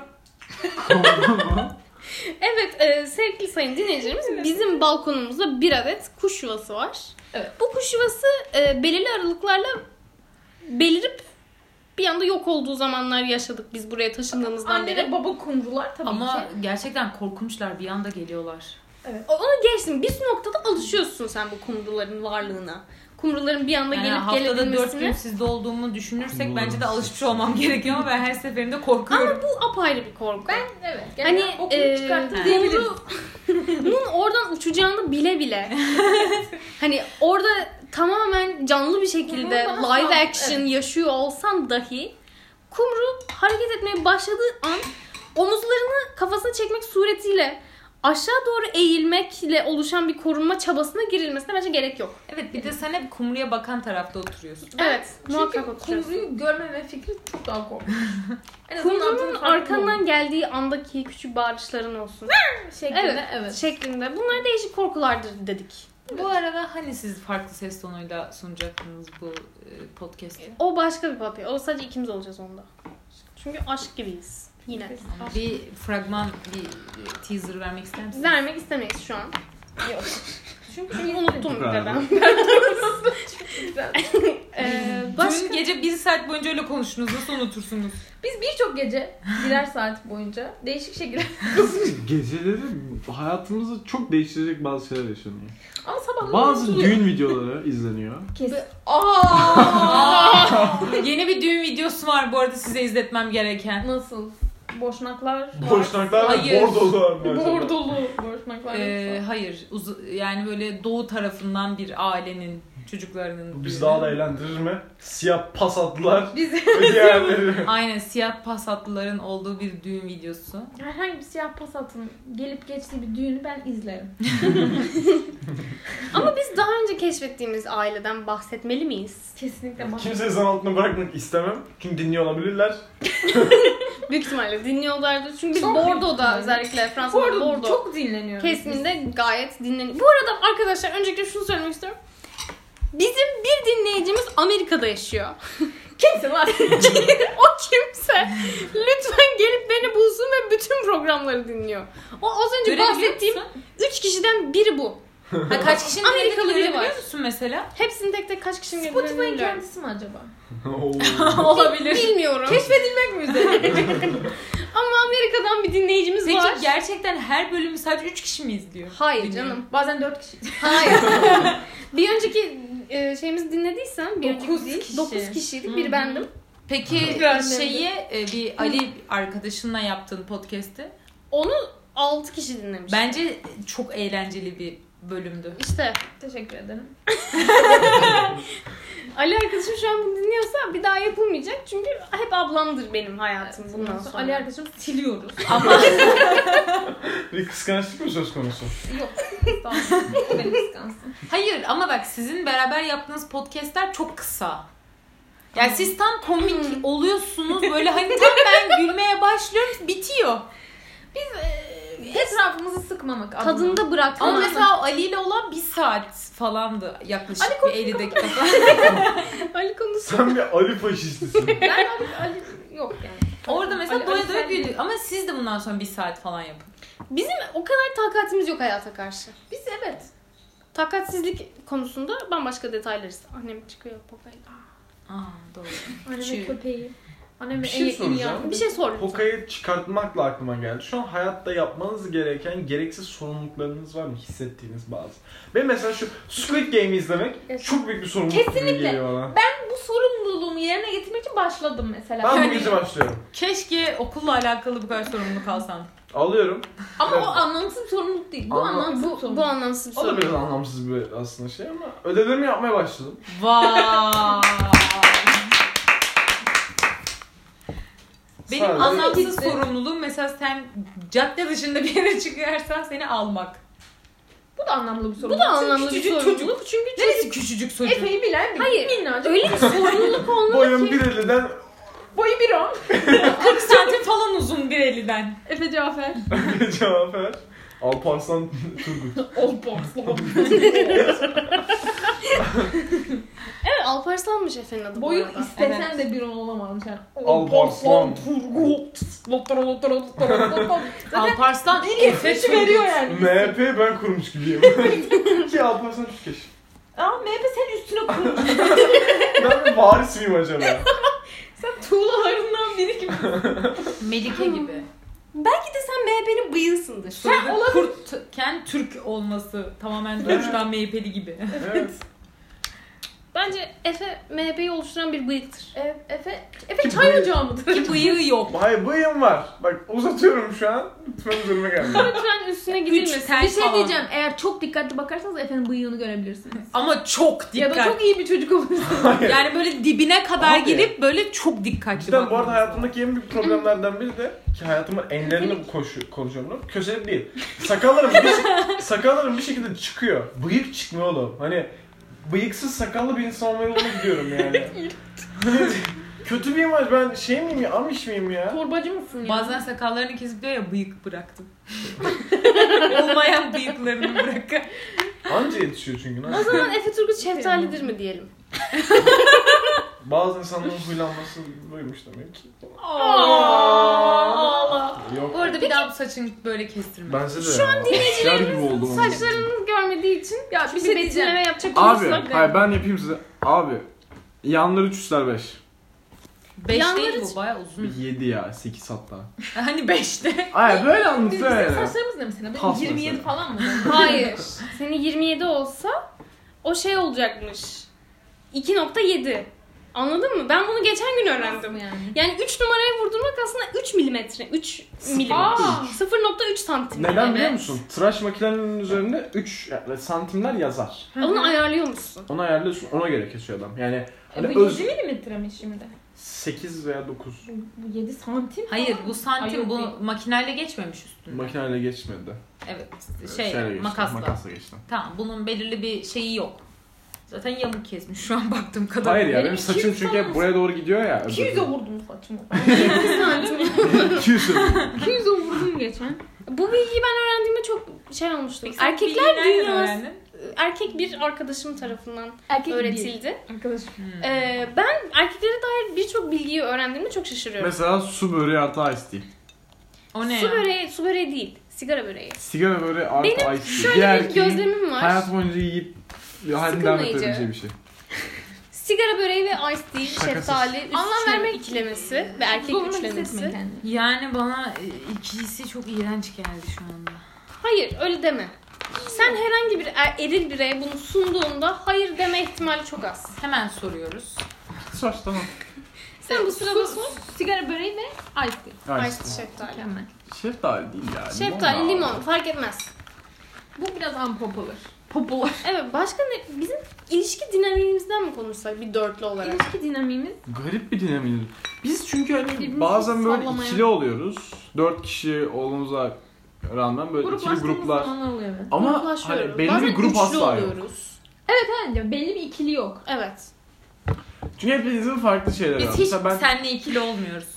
Speaker 1: [LAUGHS] Evet e, sevgili sayın dinleyicilerimiz bizim balkonumuzda bir adet kuş yuvası var.
Speaker 3: Evet.
Speaker 1: Bu kuş yuvası e, belirli aralıklarla belirip bir anda yok olduğu zamanlar yaşadık biz buraya taşındığımızdan
Speaker 3: Anne
Speaker 1: beri.
Speaker 3: ve baba kumrular tabii ki.
Speaker 2: Ama gerçekten korkunçlar bir anda geliyorlar.
Speaker 1: O- Onu geçtim. Bir noktada alışıyorsun sen bu kumruların varlığına. Kumruların bir anda
Speaker 2: Yani
Speaker 1: gelip
Speaker 2: haftada 4 gün
Speaker 1: gelebilmesine.
Speaker 2: sizde olduğumu düşünürsek
Speaker 4: Umarım
Speaker 2: bence de
Speaker 4: siz-
Speaker 2: alışmış olmam [LAUGHS] gerekiyor ama ben her seferinde korkuyorum.
Speaker 1: Bu apayrı bir korku.
Speaker 3: Ben evet.
Speaker 1: Hani
Speaker 3: Hani okulu
Speaker 1: e,
Speaker 3: çıkarttım diyebiliriz.
Speaker 1: kumrunun [LAUGHS] oradan uçacağını bile
Speaker 3: [LAUGHS]
Speaker 1: bile. hani orada tamamen canlı bir şekilde
Speaker 3: Kumru bana
Speaker 1: live
Speaker 3: sal-
Speaker 1: action yaşıyor olsan dahi kumru hareket etmeye başladığı an omuzlarını kafasına çekmek suretiyle aşağı doğru eğilmekle oluşan bir korunma çabasına girilmesine bence gerek yok.
Speaker 2: Evet bir de sen hep kumruya bakan tarafta oturuyorsun.
Speaker 1: Evet, muhakkak
Speaker 3: Çünkü
Speaker 1: oturuyorsun.
Speaker 3: kumruyu görmeme fikri çok daha korkunç. En azından
Speaker 1: Kumrunun
Speaker 3: altının farkında
Speaker 1: arkandan geldiği andaki küçük bağırışların olsun
Speaker 3: olduğum şeklinde evet.
Speaker 1: Şey, şeklinde. Bunlar değişik korkulardır dedik.
Speaker 2: Bu arada hani siz farklı ses tonuyla sunacaktınız bu e, podcast'i?
Speaker 1: O başka bir papya. O sadece ikimiz olacağız onda. Çünkü aşk gibiyiz. Yine.
Speaker 2: Bir fragman, bir e, teaser vermek ister misiniz?
Speaker 1: Vermek istemeyiz şu an.
Speaker 3: Yok. Çünkü
Speaker 1: Çünkü unuttum bir de ben.
Speaker 3: [LAUGHS]
Speaker 1: Ee, başka...
Speaker 2: Dün gece bir saat boyunca öyle konuştunuz. Nasıl unutursunuz?
Speaker 3: Biz birçok gece birer saat boyunca değişik şekilde
Speaker 4: Geceleri hayatımızı çok değiştirecek bazı şeyler yaşanıyor.
Speaker 3: ama sabahları
Speaker 4: Bazı
Speaker 3: unutuluyor.
Speaker 4: düğün videoları izleniyor.
Speaker 3: Kes.
Speaker 2: Aa! Yeni bir düğün videosu var bu arada size izletmem gereken.
Speaker 3: [LAUGHS] Nasıl? Boşnaklar.
Speaker 4: [LAUGHS] Boşnaklar
Speaker 2: Hayır.
Speaker 4: ve bordolar. mesela.
Speaker 3: Bordolu. Boşnaklar.
Speaker 2: Ee,
Speaker 3: yoksa.
Speaker 2: hayır, uzu- yani böyle doğu tarafından bir ailenin çocuklarının.
Speaker 4: Biz
Speaker 2: düğünü.
Speaker 4: daha da eğlendirir mi? Siyah pas attılar
Speaker 3: [LAUGHS] Biz
Speaker 4: ve diğerleri.
Speaker 2: Aynen siyah pasatlıların olduğu bir düğün videosu.
Speaker 1: Hani
Speaker 3: herhangi bir siyah pasatın gelip geçtiği bir düğünü ben izlerim.
Speaker 1: Ama biz daha önce keşfettiğimiz aileden bahsetmeli miyiz?
Speaker 3: Kesinlikle bak.
Speaker 4: Kimseyi zan altına bırakmak istemem. Çünkü dinliyor olabilirler.
Speaker 1: Büyük ihtimalle dinliyorlardı. Çünkü biz
Speaker 3: Çok
Speaker 1: Bordeaux'da
Speaker 3: dinliyorlar.
Speaker 1: özellikle Fransa'da
Speaker 3: Bordo,
Speaker 1: Bordeaux,
Speaker 3: çok dinleniyor.
Speaker 1: kesiminde gayet dinleniyor. Bu arada arkadaşlar öncelikle şunu söylemek istiyorum. Bizim bir dinleyicimiz Amerika'da yaşıyor. [LAUGHS]
Speaker 3: Kimse var.
Speaker 1: o
Speaker 3: [LAUGHS]
Speaker 1: kimse lütfen gelip beni bulsun ve bütün programları dinliyor. O az önce
Speaker 2: Görebiliyor
Speaker 1: bahsettiğim
Speaker 2: musun?
Speaker 1: 3 kişiden biri bu.
Speaker 2: Ha, kaç kişinin
Speaker 1: Amerikalı
Speaker 2: dinlediğini
Speaker 1: biri
Speaker 2: görebiliyor
Speaker 1: var.
Speaker 2: musun mesela?
Speaker 1: Hepsini tek tek kaç kişinin
Speaker 3: Spotify'ın
Speaker 1: girdiğini bilmiyorum.
Speaker 3: kendisi mi acaba?
Speaker 2: Olabilir.
Speaker 1: Bilmiyorum.
Speaker 3: Keşfedilmek mi üzere?
Speaker 1: [LAUGHS] Ama Amerika'dan bir dinleyicimiz
Speaker 2: Peki
Speaker 1: var.
Speaker 2: gerçekten her bölümü sadece 3 kişi mi izliyor?
Speaker 1: Hayır
Speaker 2: Bilmiyorum.
Speaker 1: canım.
Speaker 3: Bazen dört kişi. [LAUGHS]
Speaker 1: Hayır. bir önceki e, şeyimizi dinlediysen bir
Speaker 3: Dokuz
Speaker 1: önceki
Speaker 3: kişi.
Speaker 1: 9 kişilik
Speaker 2: Hı hı.
Speaker 1: bir bendim.
Speaker 2: Peki
Speaker 3: Gördüm.
Speaker 2: şeyi e, bir Ali arkadaşınla yaptığın podcast'i
Speaker 1: Onu 6 kişi dinlemiş.
Speaker 2: bence çok eğlenceli bir bölümdü.
Speaker 1: İşte
Speaker 3: Teşekkür ederim.
Speaker 1: Ali arkadaşım şu an bunu dinliyorsa bir daha yapılmayacak. Çünkü hep ablamdır benim hayatım bundan sonra.
Speaker 3: Ali arkadaşım siliyoruz.
Speaker 2: Ama
Speaker 4: bir kıskançlık mı söz konusu?
Speaker 3: [LAUGHS] Yok. Tamam. [LAUGHS] Beni kıskansın.
Speaker 2: hayır ama bak sizin beraber yaptığınız podcast'ler çok kısa. Yani siz tam
Speaker 3: Hmm.
Speaker 2: komik oluyorsunuz böyle hani tam
Speaker 3: [LAUGHS]
Speaker 2: ben gülmeye başlıyorum bitiyor.
Speaker 3: e, Etrafımızı sıkmamak adına.
Speaker 1: Tadında bırakma.
Speaker 2: Ama mesela Ali ile olan bir saat falandı yaklaşık
Speaker 3: Ali
Speaker 2: bir 50 dakika falan.
Speaker 3: [LAUGHS]
Speaker 1: Ali konusu
Speaker 4: Sen bir Ali faşistisin.
Speaker 3: Ben Ali, Ali yok yani.
Speaker 2: Orada mesela
Speaker 3: Ali-
Speaker 2: doya
Speaker 3: Ali
Speaker 2: doya
Speaker 3: sen değil.
Speaker 2: güldük ama siz de bundan sonra bir saat falan yapın.
Speaker 1: Bizim o kadar takatimiz yok hayata karşı.
Speaker 3: Biz evet.
Speaker 1: Takatsizlik konusunda bambaşka detaylarız. Annem çıkıyor papayla.
Speaker 2: Aa doğru.
Speaker 3: Anne
Speaker 2: Şu-
Speaker 3: köpeği. Annemin
Speaker 4: Bir
Speaker 3: en
Speaker 4: şey
Speaker 3: yakın
Speaker 4: soracağım.
Speaker 3: yanı.
Speaker 1: Bir şey sor. lütfen.
Speaker 4: Pokayı çıkartmakla aklıma geldi. Şu an hayatta yapmanız gereken gereksiz sorumluluklarınız var mı? Hissettiğiniz bazı. Ve mesela şu Squid Game izlemek
Speaker 3: Evet.
Speaker 4: çok büyük bir sorumluluk gibi
Speaker 3: Kesinlikle.
Speaker 4: geliyor bana.
Speaker 3: Bu sorumluluğumu yerine getirmek için başladım mesela.
Speaker 4: Ben bu
Speaker 2: Yani-
Speaker 4: gece başlıyorum.
Speaker 2: Keşke okulla alakalı bu kadar sorumluluk alsam.
Speaker 4: Alıyorum.
Speaker 3: [LAUGHS] Ama
Speaker 4: Evet.
Speaker 3: o anlamsız bir sorumluluk değil. Bu
Speaker 4: Anla-
Speaker 3: anlamsız bir
Speaker 1: Bu, bu
Speaker 3: sorumluluk.
Speaker 1: anlamsız bir
Speaker 4: O da
Speaker 1: soru.
Speaker 4: biraz anlamsız bir aslında şey ama ödevlerimi yapmaya başladım.
Speaker 2: Vay. Benim
Speaker 4: Sadece-
Speaker 2: anlamsız
Speaker 3: Gitti.
Speaker 2: sorumluluğum mesela sen cadde dışında bir yere çıkarsan seni almak.
Speaker 3: Bu da anlamlı bir sorumluluk.
Speaker 1: Bu da anlamlı bir
Speaker 2: Küçücük
Speaker 1: sorumluluk.
Speaker 2: çocuk.
Speaker 1: Çünkü
Speaker 2: Neresi küçücük çocuk?
Speaker 3: Efe'yi bilen bir
Speaker 1: Hayır.
Speaker 3: minnacık.
Speaker 1: öyle bir sorumluluk olmalı
Speaker 4: Boyum
Speaker 1: ki.
Speaker 4: 1.50'den
Speaker 3: Boyu bir on.
Speaker 2: 40 santim falan uzun bir eliden.
Speaker 3: Efe cevap ver.
Speaker 4: cevap ver. Alparslan Turgut.
Speaker 3: Ol borslu.
Speaker 1: Evet Alparslanmış Efe'nin adı
Speaker 3: Boyu
Speaker 1: bu arada.
Speaker 3: istesen de bir on olamazmış. Yani.
Speaker 4: Al borslu.
Speaker 3: Turgut. Lotara lotara lotara lotara. Zaten
Speaker 2: Alparslan
Speaker 3: bir
Speaker 2: Efe
Speaker 3: yetmişi veriyor
Speaker 2: veriyor.
Speaker 3: yani.
Speaker 4: MHP 'yi ben kurmuş gibiyim. Ki Alparslan Türkeş.
Speaker 3: Aa MHP senin üstüne kurmuş.
Speaker 4: Ben bir varis miyim acaba?
Speaker 3: Sen tuğlalarından biri gibi.
Speaker 2: Melike gibi.
Speaker 1: Belki de sen MHP'nin bıyığısındır.
Speaker 2: Sen kurtken Türk olması tamamen doğuştan MHP'li gibi.
Speaker 4: evet.
Speaker 1: Bence Efe MHP'yi oluşturan bir bıyıktır.
Speaker 3: E, Efe, Efe çay ocağı mıdır?
Speaker 2: Ki bıyığı
Speaker 3: [LAUGHS]
Speaker 2: yok.
Speaker 4: Hayır bıyım var. Bak uzatıyorum şu an. Lütfen üzerime gelme.
Speaker 1: Lütfen üstüne gidilmesin.
Speaker 2: tel
Speaker 3: Bir şey
Speaker 2: falan.
Speaker 3: diyeceğim. Eğer çok dikkatli bakarsanız Efe'nin bıyığını görebilirsiniz.
Speaker 2: Ama çok
Speaker 3: Ya
Speaker 2: dikkat.
Speaker 3: da çok iyi bir çocuk olursunuz.
Speaker 2: Yani böyle dibine kadar
Speaker 4: Abi.
Speaker 2: girip böyle çok dikkatli
Speaker 4: Cidden bu arada
Speaker 2: bakmanız lazım.
Speaker 4: hayatımdaki en büyük problemlerden biri de ki hayatımın enlerini koşu, konuşuyorum. Köselik değil. Sakallarım bir, sakallarım bir şekilde çıkıyor. Bıyık çıkmıyor oğlum. Hani bıyıksız sakallı bir insan olmaya yoluna gidiyorum yani. Kötü bir imaj. Ben şey miyim ya? Amiş miyim ya?
Speaker 3: Torbacı mısın ya?
Speaker 2: Bazen sakallarını kesip diyor ya bıyık bıraktım. [LAUGHS] Olmayan bıyıklarını bırakın.
Speaker 4: Anca yetişiyor çünkü. lan.
Speaker 1: O zaman Efe Turgut şeftalidir mi diyelim?
Speaker 4: Bazı insanların huylanması buymuş demek ki.
Speaker 3: Allah.
Speaker 4: Yok.
Speaker 2: Bu arada bir daha bu saçın böyle kestirme.
Speaker 4: Ben size de Şu an dinleyicilerimiz
Speaker 1: Saçlarını görmediği için
Speaker 3: Ya bir
Speaker 1: bir
Speaker 3: şey
Speaker 1: betimleme
Speaker 3: diyeceğim.
Speaker 1: yapacak
Speaker 4: Abi,
Speaker 1: olursak-
Speaker 4: hayır ben yapayım size. Abi, yanları 3 üstler 5.
Speaker 2: Beş değil
Speaker 1: Yanları-
Speaker 2: bu baya uzun.
Speaker 4: 7 ya, 8 hatta.
Speaker 2: [LAUGHS] Hani beşte.
Speaker 4: Hayır böyle
Speaker 3: Biz
Speaker 4: anlatıyor
Speaker 3: bizim
Speaker 4: yani.
Speaker 3: saçlarımız ne mesela? Benim
Speaker 4: Tas
Speaker 3: 27
Speaker 4: mesela.
Speaker 3: falan mı?
Speaker 1: Hayır. Senin 27 olsa o şey olacakmış. 2.7. Anladın mı? Ben bunu geçen gün öğrendim.
Speaker 3: yani.
Speaker 1: Yani 3 numaraya vurdurmak aslında 3 milimetre. 3 milimetre.
Speaker 3: Aa.
Speaker 1: 0.3 santim.
Speaker 4: Neden biliyor
Speaker 3: Evet.
Speaker 4: musun? Tıraş makinelerinin üzerinde 3 santimler yazar.
Speaker 1: Onu ayarlıyormuşsun.
Speaker 4: Onu ayarlıyorsun, ona göre kesiyor adam.
Speaker 1: E,
Speaker 4: Yani hani
Speaker 3: E, Bu
Speaker 4: öz
Speaker 3: 7 milimetre mi şimdi?
Speaker 4: 8 veya 9
Speaker 3: Bu, bu 7 santim
Speaker 2: Hayır bu
Speaker 3: Ay, yok
Speaker 2: santim
Speaker 3: değil.
Speaker 2: bu makineyle geçmemiş üstüne.
Speaker 4: makineyle geçmedi.
Speaker 2: Evet şey
Speaker 4: Şeyle geçti,
Speaker 2: makasla.
Speaker 4: Makasla geçti.
Speaker 2: Tamam bunun belirli bir şeyi yok. Zaten yamuk kesmiş şu an baktığım kadar.
Speaker 4: Hayır ya
Speaker 3: Benim
Speaker 4: benim saçım
Speaker 3: 200
Speaker 4: çünkü hep
Speaker 3: falan-
Speaker 4: buraya doğru gidiyor ya.
Speaker 3: 200'e vurdum [LAUGHS] saçımı.
Speaker 4: [LAUGHS] 200
Speaker 3: 200'e vurdum geçen.
Speaker 1: Bu bilgiyi ben öğrendiğimde çok şey olmuştu.
Speaker 2: Peki sen
Speaker 1: Erkekler
Speaker 2: bilgiyi nereden
Speaker 1: dünyası.
Speaker 2: öğrendin?
Speaker 1: Erkek bir arkadaşım tarafından
Speaker 3: Erkek
Speaker 1: öğretildi.
Speaker 3: bir. Arkadaşım.
Speaker 2: Hmm.
Speaker 1: Ee, ben erkeklere dair birçok bilgiyi öğrendiğimde çok şaşırıyorum.
Speaker 4: Mesela su böreği artı ice tea.
Speaker 2: O ne
Speaker 1: su
Speaker 2: ya?
Speaker 1: böreği, su böreği değil. Sigara böreği.
Speaker 4: Sigara böreği artı
Speaker 1: Benim
Speaker 4: ice tea.
Speaker 1: Şöyle bir
Speaker 4: erkeğin
Speaker 1: gözlemim var.
Speaker 4: Hayat boyunca yiyip hayatını devam
Speaker 1: Sıkılmayıcı.
Speaker 4: ettirebileceği bir şey.
Speaker 1: Sigara böreği ve ice tea, şeftali, üstüne
Speaker 3: Anlam vermek-
Speaker 1: ikilemesi ve erkek
Speaker 3: Zorlamak
Speaker 1: üçlemesi.
Speaker 3: hissetmeyin kendini.
Speaker 2: Yani bana e, ikisi çok iğrenç geldi şu anda.
Speaker 1: Hayır öyle deme. Sen herhangi bir er- eril bireye bunu sunduğunda hayır deme ihtimali çok az.
Speaker 2: Hemen soruyoruz.
Speaker 4: Saç tamam.
Speaker 1: Sen bu sırada
Speaker 3: Su,
Speaker 1: sor.
Speaker 3: Sigara böreği ve ice cream.
Speaker 1: Ice tea, şeftali.
Speaker 3: Mükemmel.
Speaker 4: Şeftali değil ya.
Speaker 1: Şeftali,
Speaker 4: abi.
Speaker 1: limon fark etmez.
Speaker 3: Bu biraz unpopular. Popular.
Speaker 1: Evet başka ne? Bizim ilişki dinamiğimizden mi konuşsak bir dörtlü olarak?
Speaker 3: İlişki dinamiğimiz
Speaker 4: Garip bir dinamik. Biz çünkü hani
Speaker 3: Birbirimizi
Speaker 4: bazen böyle
Speaker 3: sallamaya-
Speaker 4: ikili oluyoruz. Dört kişi olduğumuza rağmen böyle ikili
Speaker 3: gruplaştığımız
Speaker 4: gruplar.
Speaker 3: zamanlar oluyor. evet.
Speaker 4: Ama
Speaker 1: Gruplaşıyoruz.
Speaker 4: hani belli
Speaker 1: Bazen
Speaker 4: bir grup
Speaker 1: üçlü
Speaker 4: asla yok.
Speaker 1: oluyoruz.
Speaker 3: Bence belli bir ikili yok.
Speaker 1: Evet.
Speaker 4: Çünkü hepinizin farklı şeyleri
Speaker 2: Biz
Speaker 4: var.
Speaker 2: hiç
Speaker 4: Mesela ben
Speaker 2: senle ikili olmuyoruz.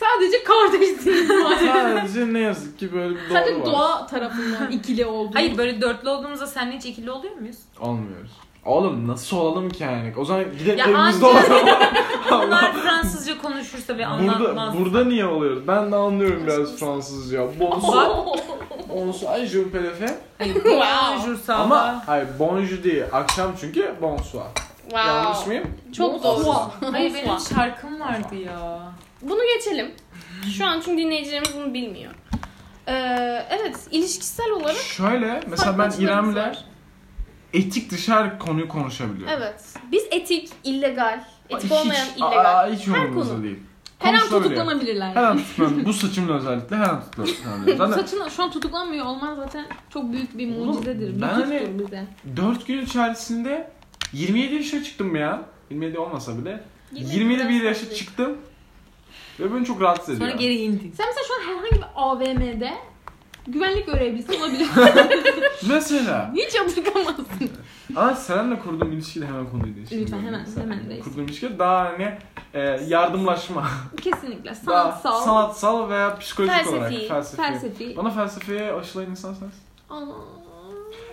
Speaker 3: Sadece [LAUGHS] kardeşsiniz maalesef.
Speaker 4: sadece ne yazık ki böyle bir doğru
Speaker 3: Sadece
Speaker 4: var.
Speaker 3: doğa tarafından ikili olduğu.
Speaker 2: Hayır böyle dörtlü olduğumuzda senle hiç ikili oluyor
Speaker 4: [LAUGHS]
Speaker 2: muyuz?
Speaker 4: Olmuyoruz. Oğlum nasıl olalım ki yani? O zaman gidelim
Speaker 2: Ya
Speaker 4: evimizde
Speaker 2: anca-
Speaker 4: olalım.
Speaker 2: Onlar Fransızca konuşursa ve
Speaker 4: [LAUGHS] burada,
Speaker 2: anlatmaz.
Speaker 4: burada niye oluyoruz? Ben de anlıyorum biraz Fransızca. Bonsoir. Bonsoir, je m'appelle Efe.
Speaker 2: Hayır,
Speaker 1: Wow.
Speaker 2: bonjour, ça va.
Speaker 4: Ama hayır bonjour değil. Akşam çünkü bonsoir. Yanlış mıyım?
Speaker 1: Çok doğru.
Speaker 2: Oha.
Speaker 1: Hayır,
Speaker 2: Hayır
Speaker 1: benim
Speaker 2: benim şarkım vardı ya.
Speaker 1: Bunu geçelim. Şu an çünkü dinleyicilerimiz bunu bilmiyor. Ee, evet, ilişkisel olarak
Speaker 4: Şöyle mesela
Speaker 1: farklı
Speaker 4: ben
Speaker 1: açılarımız
Speaker 4: İrem'le
Speaker 1: var.
Speaker 4: etik dışı her konuyu konuşabiliyorum.
Speaker 1: Evet. Biz etik, illegal, etik
Speaker 4: Hiç-
Speaker 1: olmayan illegal.
Speaker 4: Aa, hiç
Speaker 1: konu.
Speaker 4: umurumuzda değil.
Speaker 3: Her an
Speaker 4: Konuşulabiliyor.
Speaker 3: tutuklanabilirler.
Speaker 4: Her an tutuklanabilir. Bu saçımla özellikle her an tutuklanabilir.
Speaker 3: [LAUGHS]
Speaker 4: Zaten
Speaker 3: Saçın şu an tutuklanmıyor olman zaten çok büyük bir
Speaker 4: Oğlum,
Speaker 3: mucizedir.
Speaker 4: ben
Speaker 3: Lütuftur
Speaker 4: hani-
Speaker 3: bize.
Speaker 4: 4 gün içerisinde 27 yaşa çıktım ya. 27 olmasa bile. 27 bir yaşa çıktım. Ve beni çok rahatsız ediyor.
Speaker 2: Sonra geri indin.
Speaker 3: Sen mesela şu an herhangi bir AVM'de güvenlik görevlisi olabilir. [LAUGHS]
Speaker 4: Mesela.
Speaker 3: Hiç yadırgamazsın.
Speaker 4: Aa Seren'le kurduğum ilişkiyle hemen konuyu değiştirdim.
Speaker 3: Lütfen, hemen,
Speaker 4: Seren'le
Speaker 3: hemen değiştir.
Speaker 4: Kurduğum ilişki daha hani e, yardımlaşma.
Speaker 3: Kesinlikle
Speaker 4: Daha
Speaker 3: sanatsal,
Speaker 4: sanatsal veya psikolojik
Speaker 1: Felsefi,
Speaker 4: olarak. Felsefi.
Speaker 3: felsefi.
Speaker 4: Bana felsefeye aşılayan insan sensin.
Speaker 3: Aa,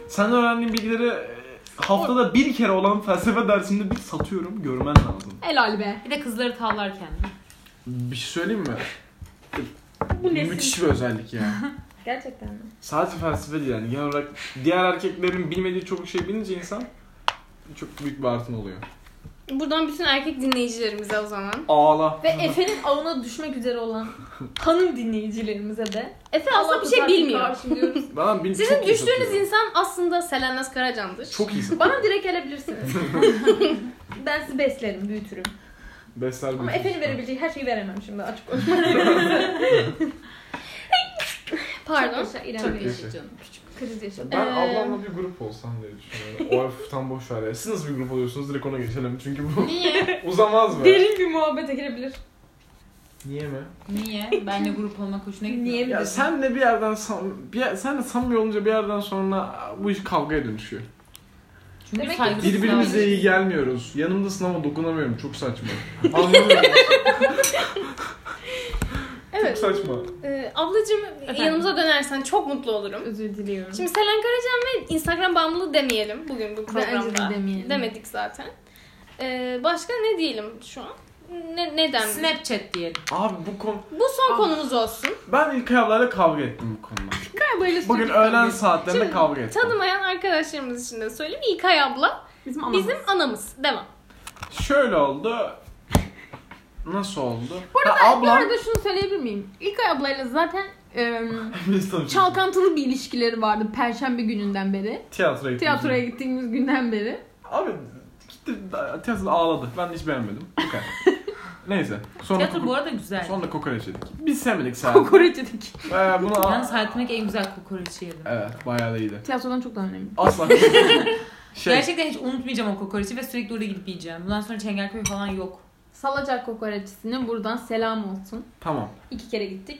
Speaker 4: Sen öğrendiğin bilgileri e, haftada bir kere olan felsefe dersinde bir satıyorum. Görmen lazım.
Speaker 3: helal be.
Speaker 2: Bir de kızları tavlarken.
Speaker 4: Bir şey söyleyeyim mi?
Speaker 3: Bu nesil.
Speaker 4: Müthiş bir özellik ya.
Speaker 3: Gerçekten mi?
Speaker 4: Sadece felsefe değil yani. Genel olarak diğer erkeklerin bilmediği çok şey bilince insan çok büyük bir artın oluyor.
Speaker 1: Buradan bütün erkek dinleyicilerimize o zaman.
Speaker 4: Ağla.
Speaker 3: Ve Efe'nin avına düşmek üzere olan
Speaker 4: [LAUGHS]
Speaker 3: hanım dinleyicilerimize de
Speaker 1: Efe aslında
Speaker 3: Allah
Speaker 1: bir şey
Speaker 3: kurtarsın
Speaker 1: bilmiyor.
Speaker 3: karşım diyoruz.
Speaker 4: Bana bil-
Speaker 1: Sizin
Speaker 4: çok iyi
Speaker 1: düştüğünüz
Speaker 4: satıyor.
Speaker 1: insan aslında Selenas Karacan'dır.
Speaker 4: Çok iyi satıyor.
Speaker 3: [LAUGHS] Bana direkt [LAUGHS] gelebilirsiniz. ben sizi beslerim, büyütürüm.
Speaker 4: Besler
Speaker 3: Ama
Speaker 4: büyütmüş.
Speaker 3: Efe'nin verebileceği her şeyi veremem şimdi [LAUGHS] açık konuşmak.
Speaker 1: Pardon.
Speaker 3: Çok yaşa, İrem
Speaker 5: Çok
Speaker 3: Bey.
Speaker 5: yaşa canım. Küçük.
Speaker 3: Kriz yaşadım.
Speaker 4: Ben
Speaker 1: Ee,
Speaker 4: ablamla bir grup olsam diye düşünüyorum. Of tam boş ver ya. Siz nasıl bir grup oluyorsunuz direkt ona geçelim. Çünkü bu
Speaker 1: Niye?
Speaker 4: [LAUGHS] uzamaz mı?
Speaker 3: Derin bir muhabbete girebilir.
Speaker 4: Niye mi?
Speaker 2: Niye? Benle grup olmak hoşuna gitmiyor.
Speaker 3: Niye mi?
Speaker 4: Ya
Speaker 3: desin?
Speaker 4: sen de bir yerden sam bir yer- sen de samimi olunca bir yerden sonra bu iş kavgaya dönüşüyor.
Speaker 2: Çünkü
Speaker 3: Demek ki
Speaker 2: saygısız
Speaker 4: Birbirimize iyi gelmiyoruz. Yanımda sınava dokunamıyorum. Çok saçma. Anlamıyorum. Çok
Speaker 1: Evet.
Speaker 4: saçma.
Speaker 1: Ee, ablacığım yanımıza dönersen çok mutlu olurum.
Speaker 3: Özür diliyorum.
Speaker 1: Şimdi Selen Karacan ve Instagram bağımlılığı demeyelim bugün bu
Speaker 3: Bence
Speaker 1: programda.
Speaker 3: de demeyelim.
Speaker 1: Demedik zaten. Ee, başka ne diyelim şu an? Ne, ne
Speaker 2: davranıyor.
Speaker 1: denmeli?
Speaker 2: Snapchat diyelim.
Speaker 4: Abi bu konu...
Speaker 1: Bu son konumuz olsun.
Speaker 4: Ben İlkay ablayla kavga ettim bu konuda.
Speaker 3: Böyle
Speaker 4: Bugün
Speaker 3: sürekli
Speaker 4: öğlen saatlerinde
Speaker 1: Şimdi
Speaker 4: kavga ettim.
Speaker 1: Tanımayan arkadaşlarımız için de söyleyeyim. İlkay abla
Speaker 3: Bizim anamız.
Speaker 1: bizim anamız. Devam.
Speaker 4: Şöyle oldu. Nasıl oldu?
Speaker 3: Bu arada,
Speaker 4: Ha,
Speaker 3: bu
Speaker 4: ablam...
Speaker 3: arada şunu söyleyebilir miyim? İlkay ablayla zaten e,
Speaker 4: [LAUGHS] Biz tanıştık.
Speaker 3: çalkantılı bir ilişkileri vardı Perşembe gününden beri.
Speaker 4: Tiyatroya gittim.
Speaker 3: Tiyatroya gittiğimiz günden [LAUGHS] beri.
Speaker 4: Abi gitti da- tiyatroda ağladı. Ben de hiç beğenmedim. Bu kadar. Neyse. Sonra,
Speaker 2: Tiyatro
Speaker 4: koko-
Speaker 2: bu arada güzel.
Speaker 4: sonra kokoreç yedik. Biz sevmedik sen.
Speaker 3: Kokoreç yedik.
Speaker 4: Ee, bunu...
Speaker 2: Ben hayatımdaki en güzel kokoreçi yedim.
Speaker 4: Evet bayağı da iyiydi.
Speaker 3: Tiyatrodan çok daha önemli.
Speaker 4: Asla.
Speaker 2: [LAUGHS]
Speaker 4: şey,
Speaker 2: Gerçekten hiç unutmayacağım o kokoreçi ve sürekli oraya gidip yiyeceğim. Bundan sonra Çengelköy falan yok. [LAUGHS]
Speaker 3: Salacak kokoreççisine buradan selam olsun.
Speaker 4: tamam.
Speaker 3: İki kere gittik.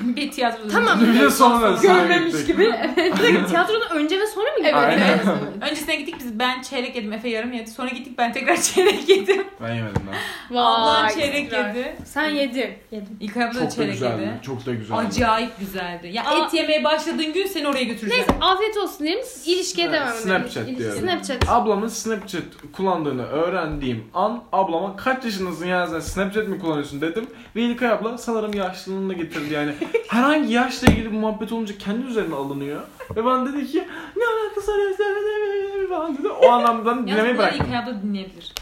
Speaker 2: bir tiyatroda.
Speaker 1: Tamam.
Speaker 4: Bir de sonra
Speaker 3: [LAUGHS] Görmemiş gibi. [LAUGHS] Evet.
Speaker 1: Tiyatrodan önce ve sonra mı
Speaker 3: evet,
Speaker 1: gidiyoruz?
Speaker 4: Aynen.
Speaker 3: evet, evet.
Speaker 2: Öncesine gittik biz ben çeyrek yedim Efe yarım yedi. Sonra gittik ben tekrar [LAUGHS] çeyrek yedim.
Speaker 4: Ben yemedim ben.
Speaker 2: Ablam
Speaker 1: Vay,
Speaker 2: çeyrek
Speaker 1: tekrar.
Speaker 2: yedi.
Speaker 1: Sen yedin.
Speaker 3: Yedim.
Speaker 2: İlk abla da
Speaker 4: Çok da
Speaker 2: çeyrek
Speaker 4: güzeldi.
Speaker 2: yedi.
Speaker 4: Çok da güzeldi.
Speaker 2: Acayip güzeldi. Ya
Speaker 1: Aa.
Speaker 2: et yemeye başladığın gün seni oraya götüreceğim.
Speaker 1: Neyse afiyet olsun diyelim. İlişkiye
Speaker 4: Evet,
Speaker 1: devam edelim.
Speaker 4: Snapchat
Speaker 1: İlişki-
Speaker 4: diyorum.
Speaker 1: Snapchat.
Speaker 4: Ablamın Snapchat kullandığını öğrendiğim an ablama kaç yaşındasın ya sen Snapchat mi kullanıyorsun dedim. Ve İlkay abla sanırım yaşlılığını da getirdi yani. Herhangi yaşla ilgili bir muhabbet olunca kendi üzerine alınıyor. Ve bana dedi ki ne alakası var ya Snapchat'e?" falan dedi. O anlamdan
Speaker 2: Yalnız
Speaker 4: dinlemeyi
Speaker 2: bunları İlk
Speaker 4: bıraktım.
Speaker 2: abla dinleyebilir.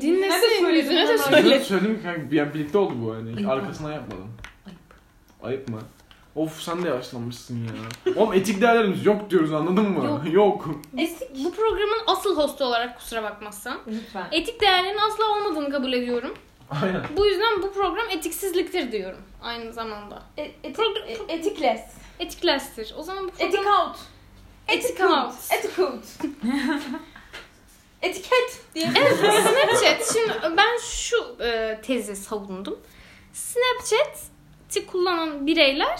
Speaker 1: Dinlesin.
Speaker 3: Nerede
Speaker 1: Yüzüne de
Speaker 3: söyledin?
Speaker 1: söyle.
Speaker 4: Söyledim, söyledim ki yani birlikte oldu bu yani.
Speaker 2: Ayıp
Speaker 4: Arkasından yapmadım.
Speaker 2: Ayıp.
Speaker 4: Ayıp mı? Of sen de yaşlanmışsın ya. Oğlum etik değerlerimiz yok diyoruz anladın mı?
Speaker 1: Yok.
Speaker 4: [LAUGHS] yok.
Speaker 1: Bu programın asıl hostu olarak kusura bakmazsan.
Speaker 3: Lütfen.
Speaker 1: Etik değerlerin asla olmadığını kabul ediyorum.
Speaker 4: Aynen.
Speaker 1: Bu yüzden bu program etiksizliktir diyorum aynı zamanda. Progr- pro-
Speaker 3: E, etikles.
Speaker 1: Etiklerstir. O zaman bu program...
Speaker 3: Etik out.
Speaker 1: Etik out.
Speaker 3: Etik [LAUGHS] out. Etiket diye.
Speaker 1: Evet Snapchat. Şimdi ben şu e, tezi savundum. Snapchat'i kullanan bireyler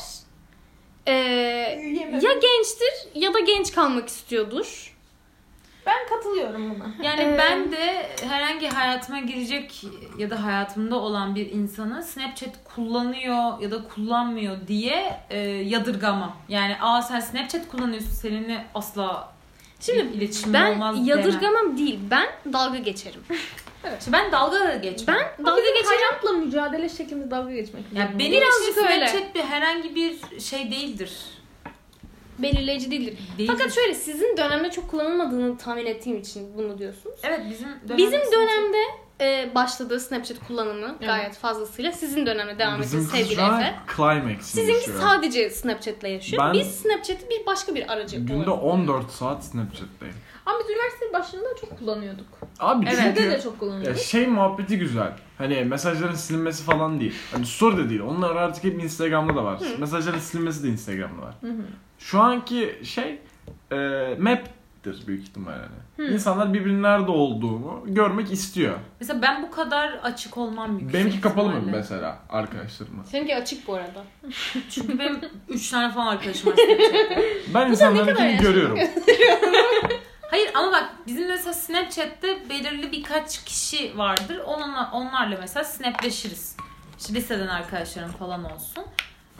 Speaker 1: e,
Speaker 3: şey. Yemedi.
Speaker 1: ya gençtir ya da genç kalmak istiyordur.
Speaker 3: Ben katılıyorum buna.
Speaker 2: Yani
Speaker 1: Ee,
Speaker 2: ben de herhangi hayatıma girecek ya da hayatımda olan bir insanı Snapchat kullanıyor ya da kullanmıyor diye e, yadırgamam. Yani aa sen Snapchat kullanıyorsun seninle asla
Speaker 1: Şimdi
Speaker 2: il- iletişimim
Speaker 1: Ben
Speaker 2: olmaz demem.
Speaker 1: yadırgamam değil. Ben dalga geçerim.
Speaker 2: İşte ben dalga geç.
Speaker 1: Ben dalga
Speaker 3: Bizim
Speaker 1: geçerim.
Speaker 3: hayatla mücadele
Speaker 1: Ee,
Speaker 3: şeklimiz dalga geçmek.
Speaker 2: ya benim
Speaker 1: Birazcık
Speaker 2: için
Speaker 1: öyle.
Speaker 2: Snapchat bir herhangi bir şey değildir.
Speaker 1: belirleyici değildir.
Speaker 2: Değil.
Speaker 1: Fakat şöyle sizin dönemde çok kullanılmadığını tahmin ettiğim için bunu diyorsunuz.
Speaker 2: evet bizim
Speaker 1: Bizim dönemde e, başladı Snapchat kullanımı gayet fazlasıyla. Sizin dönemde devam ediyor
Speaker 4: Bizim kız
Speaker 1: sevgili
Speaker 4: şu an
Speaker 1: Efe.
Speaker 4: climax'ini
Speaker 1: Sizinki
Speaker 4: yaşıyor.
Speaker 1: sadece Snapchat'le yaşıyor.
Speaker 4: Ben-
Speaker 1: Biz Snapchat'i bir başka bir aracı
Speaker 4: Günde
Speaker 1: olarak-
Speaker 4: 14 saat Snapchat'teyim.
Speaker 3: Ama biz üniversite başında çok kullanıyorduk.
Speaker 4: Abi
Speaker 3: Evet.
Speaker 4: çünkü...
Speaker 3: de çok kullanıyorduk.
Speaker 4: Ya şey muhabbeti güzel. Hani mesajların silinmesi falan değil. Hani story de değil. Onlar artık hep Instagram'da da var. Mesajların silinmesi de Instagram'da var.
Speaker 3: Hı hı.
Speaker 4: Şu anki şey e, map'tir büyük ihtimalle. İnsanlar birbirinin nerede olduğunu görmek istiyor.
Speaker 2: Mesela ben bu kadar açık olmam yüksek
Speaker 4: Benimki kapalı mı
Speaker 2: ihtimalle.
Speaker 4: mesela arkadaşlarıma?
Speaker 1: Seninki açık bu arada.
Speaker 2: Çünkü benim 3 tane falan arkadaşım var
Speaker 4: [LAUGHS]
Speaker 2: Snapchat'te.
Speaker 4: Ben
Speaker 1: kadar
Speaker 4: insanlarınkini
Speaker 1: yaşlı?
Speaker 4: görüyorum.
Speaker 2: Hayır ama bak bizim mesela Snapchat'te belirli birkaç kişi vardır. Onunla, onlarla mesela snapleşiriz. İşte liseden arkadaşlarım falan olsun.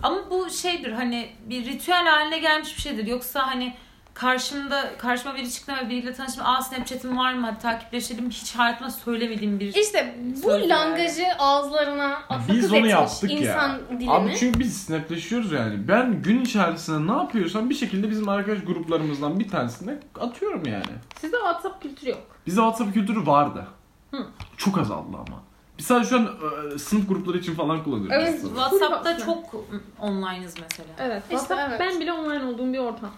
Speaker 2: Ama bu şeydir hani bir ritüel haline gelmiş bir şeydir. Yoksa hani karşımda karşıma biri çıktı ve biriyle tanıştım. Aa Snapchat'im var mı? Hadi takipleşelim. Hiç hayatıma söylemediğim bir...
Speaker 1: İşte bu
Speaker 2: Sözler.
Speaker 1: langajı ağızlarına akıl
Speaker 4: Biz onu
Speaker 1: etmiş
Speaker 4: yaptık
Speaker 1: insan
Speaker 4: ya.
Speaker 1: dilini.
Speaker 4: Abi çünkü biz snapleşiyoruz yani. Ben gün içerisinde ne yapıyorsam bir şekilde bizim arkadaş gruplarımızdan bir tanesine atıyorum yani.
Speaker 3: Sizde WhatsApp kültürü yok.
Speaker 4: Bizde WhatsApp kültürü vardı.
Speaker 3: Hı.
Speaker 4: Çok azaldı ama. Biz sadece şu an e, sınıf grupları için falan kullanıyoruz.
Speaker 3: Evet,
Speaker 4: aslında.
Speaker 2: WhatsApp'ta çok online'ız mesela.
Speaker 3: Evet.
Speaker 1: İşte
Speaker 3: WhatsApp
Speaker 1: evet.
Speaker 3: ben bile online olduğum bir ortam.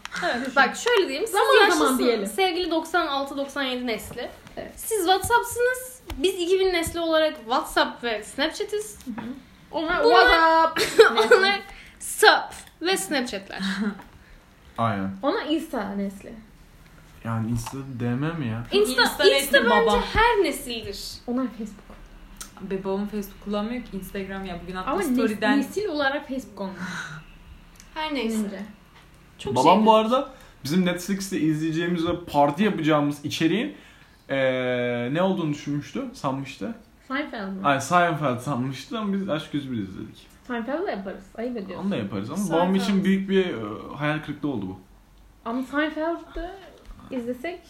Speaker 1: Bak şöyle diyeyim. Siz
Speaker 3: Zaman zaman
Speaker 1: yaşlısınız.
Speaker 3: diyelim.
Speaker 1: Sevgili 96-97 nesli.
Speaker 3: Evet.
Speaker 1: Siz WhatsApp'sınız. Biz 2000 nesli olarak WhatsApp ve Snapchat'iz.
Speaker 3: Onlar
Speaker 1: Bunlar-
Speaker 3: WhatsApp. [LAUGHS]
Speaker 1: Onlar Sup ve Snapchat'ler.
Speaker 4: Aynen.
Speaker 3: Ona Insta nesli.
Speaker 4: Yani Insta DM mi ya?
Speaker 1: Insta,
Speaker 2: Insta
Speaker 1: Insta,
Speaker 2: resmi
Speaker 1: bence
Speaker 2: baba.
Speaker 1: her nesildir.
Speaker 3: Onlar Facebook.
Speaker 2: Be babam Facebook kullanmıyor ki Instagram ya. Bugün
Speaker 3: Ama
Speaker 2: attığım
Speaker 3: ne-
Speaker 2: story'den
Speaker 3: nesil olarak Facebook onlar.
Speaker 1: Her neyse.
Speaker 3: Bence.
Speaker 1: Çok
Speaker 4: Babam
Speaker 1: şey.
Speaker 4: bu arada bizim Netflix'te izleyeceğimiz ve parti yapacağımız içeriğin e, ne olduğunu düşünmüştü, sanmıştı.
Speaker 3: Seinfeld mi?
Speaker 4: Ay Seinfeld sanmıştı ama biz Aşk 101 izledik.
Speaker 3: Seinfeld'la yaparız. Ayıp ediyorsun.
Speaker 4: Onu da yaparız ama
Speaker 1: Seinfeld.
Speaker 4: babam için büyük bir e, hayal kırıklığı oldu bu.
Speaker 3: Ama Seinfeld'ı izlesek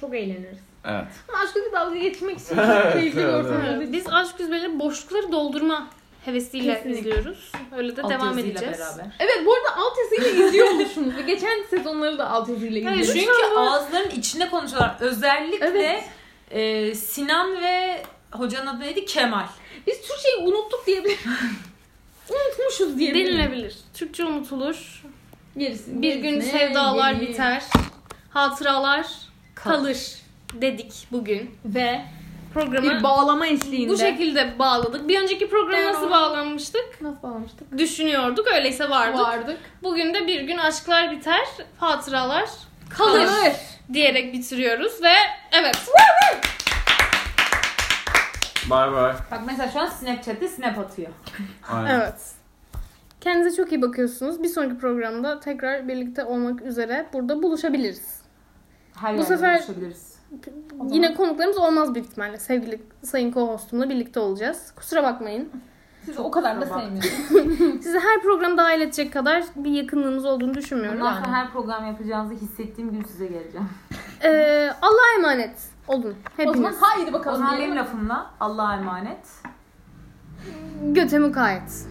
Speaker 3: çok eğleniriz.
Speaker 4: Evet.
Speaker 3: Ama aşkı bir dalga
Speaker 1: [LAUGHS]
Speaker 3: geçmek için çok keyifli bir
Speaker 4: evet,
Speaker 3: ortam.
Speaker 1: Evet,
Speaker 3: oldu.
Speaker 1: Biz aşk yüzmeleri boşlukları doldurma hevesiyle
Speaker 3: Kesinlikle.
Speaker 1: izliyoruz. Öyle de
Speaker 2: alt
Speaker 1: devam
Speaker 2: yazıyla
Speaker 1: edeceğiz.
Speaker 2: beraber.
Speaker 3: Evet bu arada alt yazıyla izliyor oluşumuz. Ve geçen sezonları da alt yazıyla
Speaker 1: Hayır,
Speaker 3: izliyoruz.
Speaker 2: Çünkü ağızların içinde konuşuyorlar. Özellikle
Speaker 3: Evet.
Speaker 2: e, Sinan ve hocanın adı neydi? Kemal.
Speaker 3: Biz Türkçeyi unuttuk diyebilir.
Speaker 1: [LAUGHS]
Speaker 3: Unutmuşuz diyebilir.
Speaker 1: Denilebilir. Türkçe unutulur.
Speaker 3: Gerisi.
Speaker 1: Bir gün
Speaker 3: gerisine
Speaker 1: sevdalar
Speaker 3: gelir.
Speaker 1: biter. Hatıralar
Speaker 2: Kalır.
Speaker 1: kalır dedik bugün.
Speaker 3: Ve bir
Speaker 1: Programı
Speaker 3: bağlama eşliğinde.
Speaker 1: bu şekilde bağladık. Bir önceki programı nasıl bağlanmıştık?
Speaker 3: Nasıl bağlamıştık?
Speaker 1: Düşünüyorduk. Öyleyse vardık.
Speaker 3: Vardık.
Speaker 1: Bugün de bir gün aşklar biter, hatıralar kalır,
Speaker 3: Kalır.
Speaker 1: diyerek bitiriyoruz ve evet.
Speaker 4: Bye bye.
Speaker 2: Bak mesela şu an Snapchat'te Snap atıyor.
Speaker 4: Aynen.
Speaker 1: Evet. Kendinize çok iyi bakıyorsunuz. Bir sonraki programda tekrar birlikte olmak üzere burada buluşabiliriz.
Speaker 2: Her
Speaker 1: Bu
Speaker 2: yerde
Speaker 1: sefer-
Speaker 2: buluşabiliriz.
Speaker 1: Yine konuklarımız olmaz büyük ihtimalle. Sevgili sayın co-hostumla birlikte olacağız. Kusura bakmayın.
Speaker 3: Sizi o kadar da sevmiyorum.
Speaker 1: Sizi her programda dahil edecek kadar bir yakınlığımız olduğunu düşünmüyorum.
Speaker 2: Bundan sonra her program yapacağınızı hissettiğim gün size geleceğim.
Speaker 1: Ee, Allah'a emanet olun
Speaker 3: o zaman
Speaker 1: hepiniz.
Speaker 3: haydi
Speaker 2: O
Speaker 3: bakalım.
Speaker 2: zaman benim
Speaker 3: diyelim.
Speaker 2: lafımla Allah'a emanet.
Speaker 1: Göte mukayyet.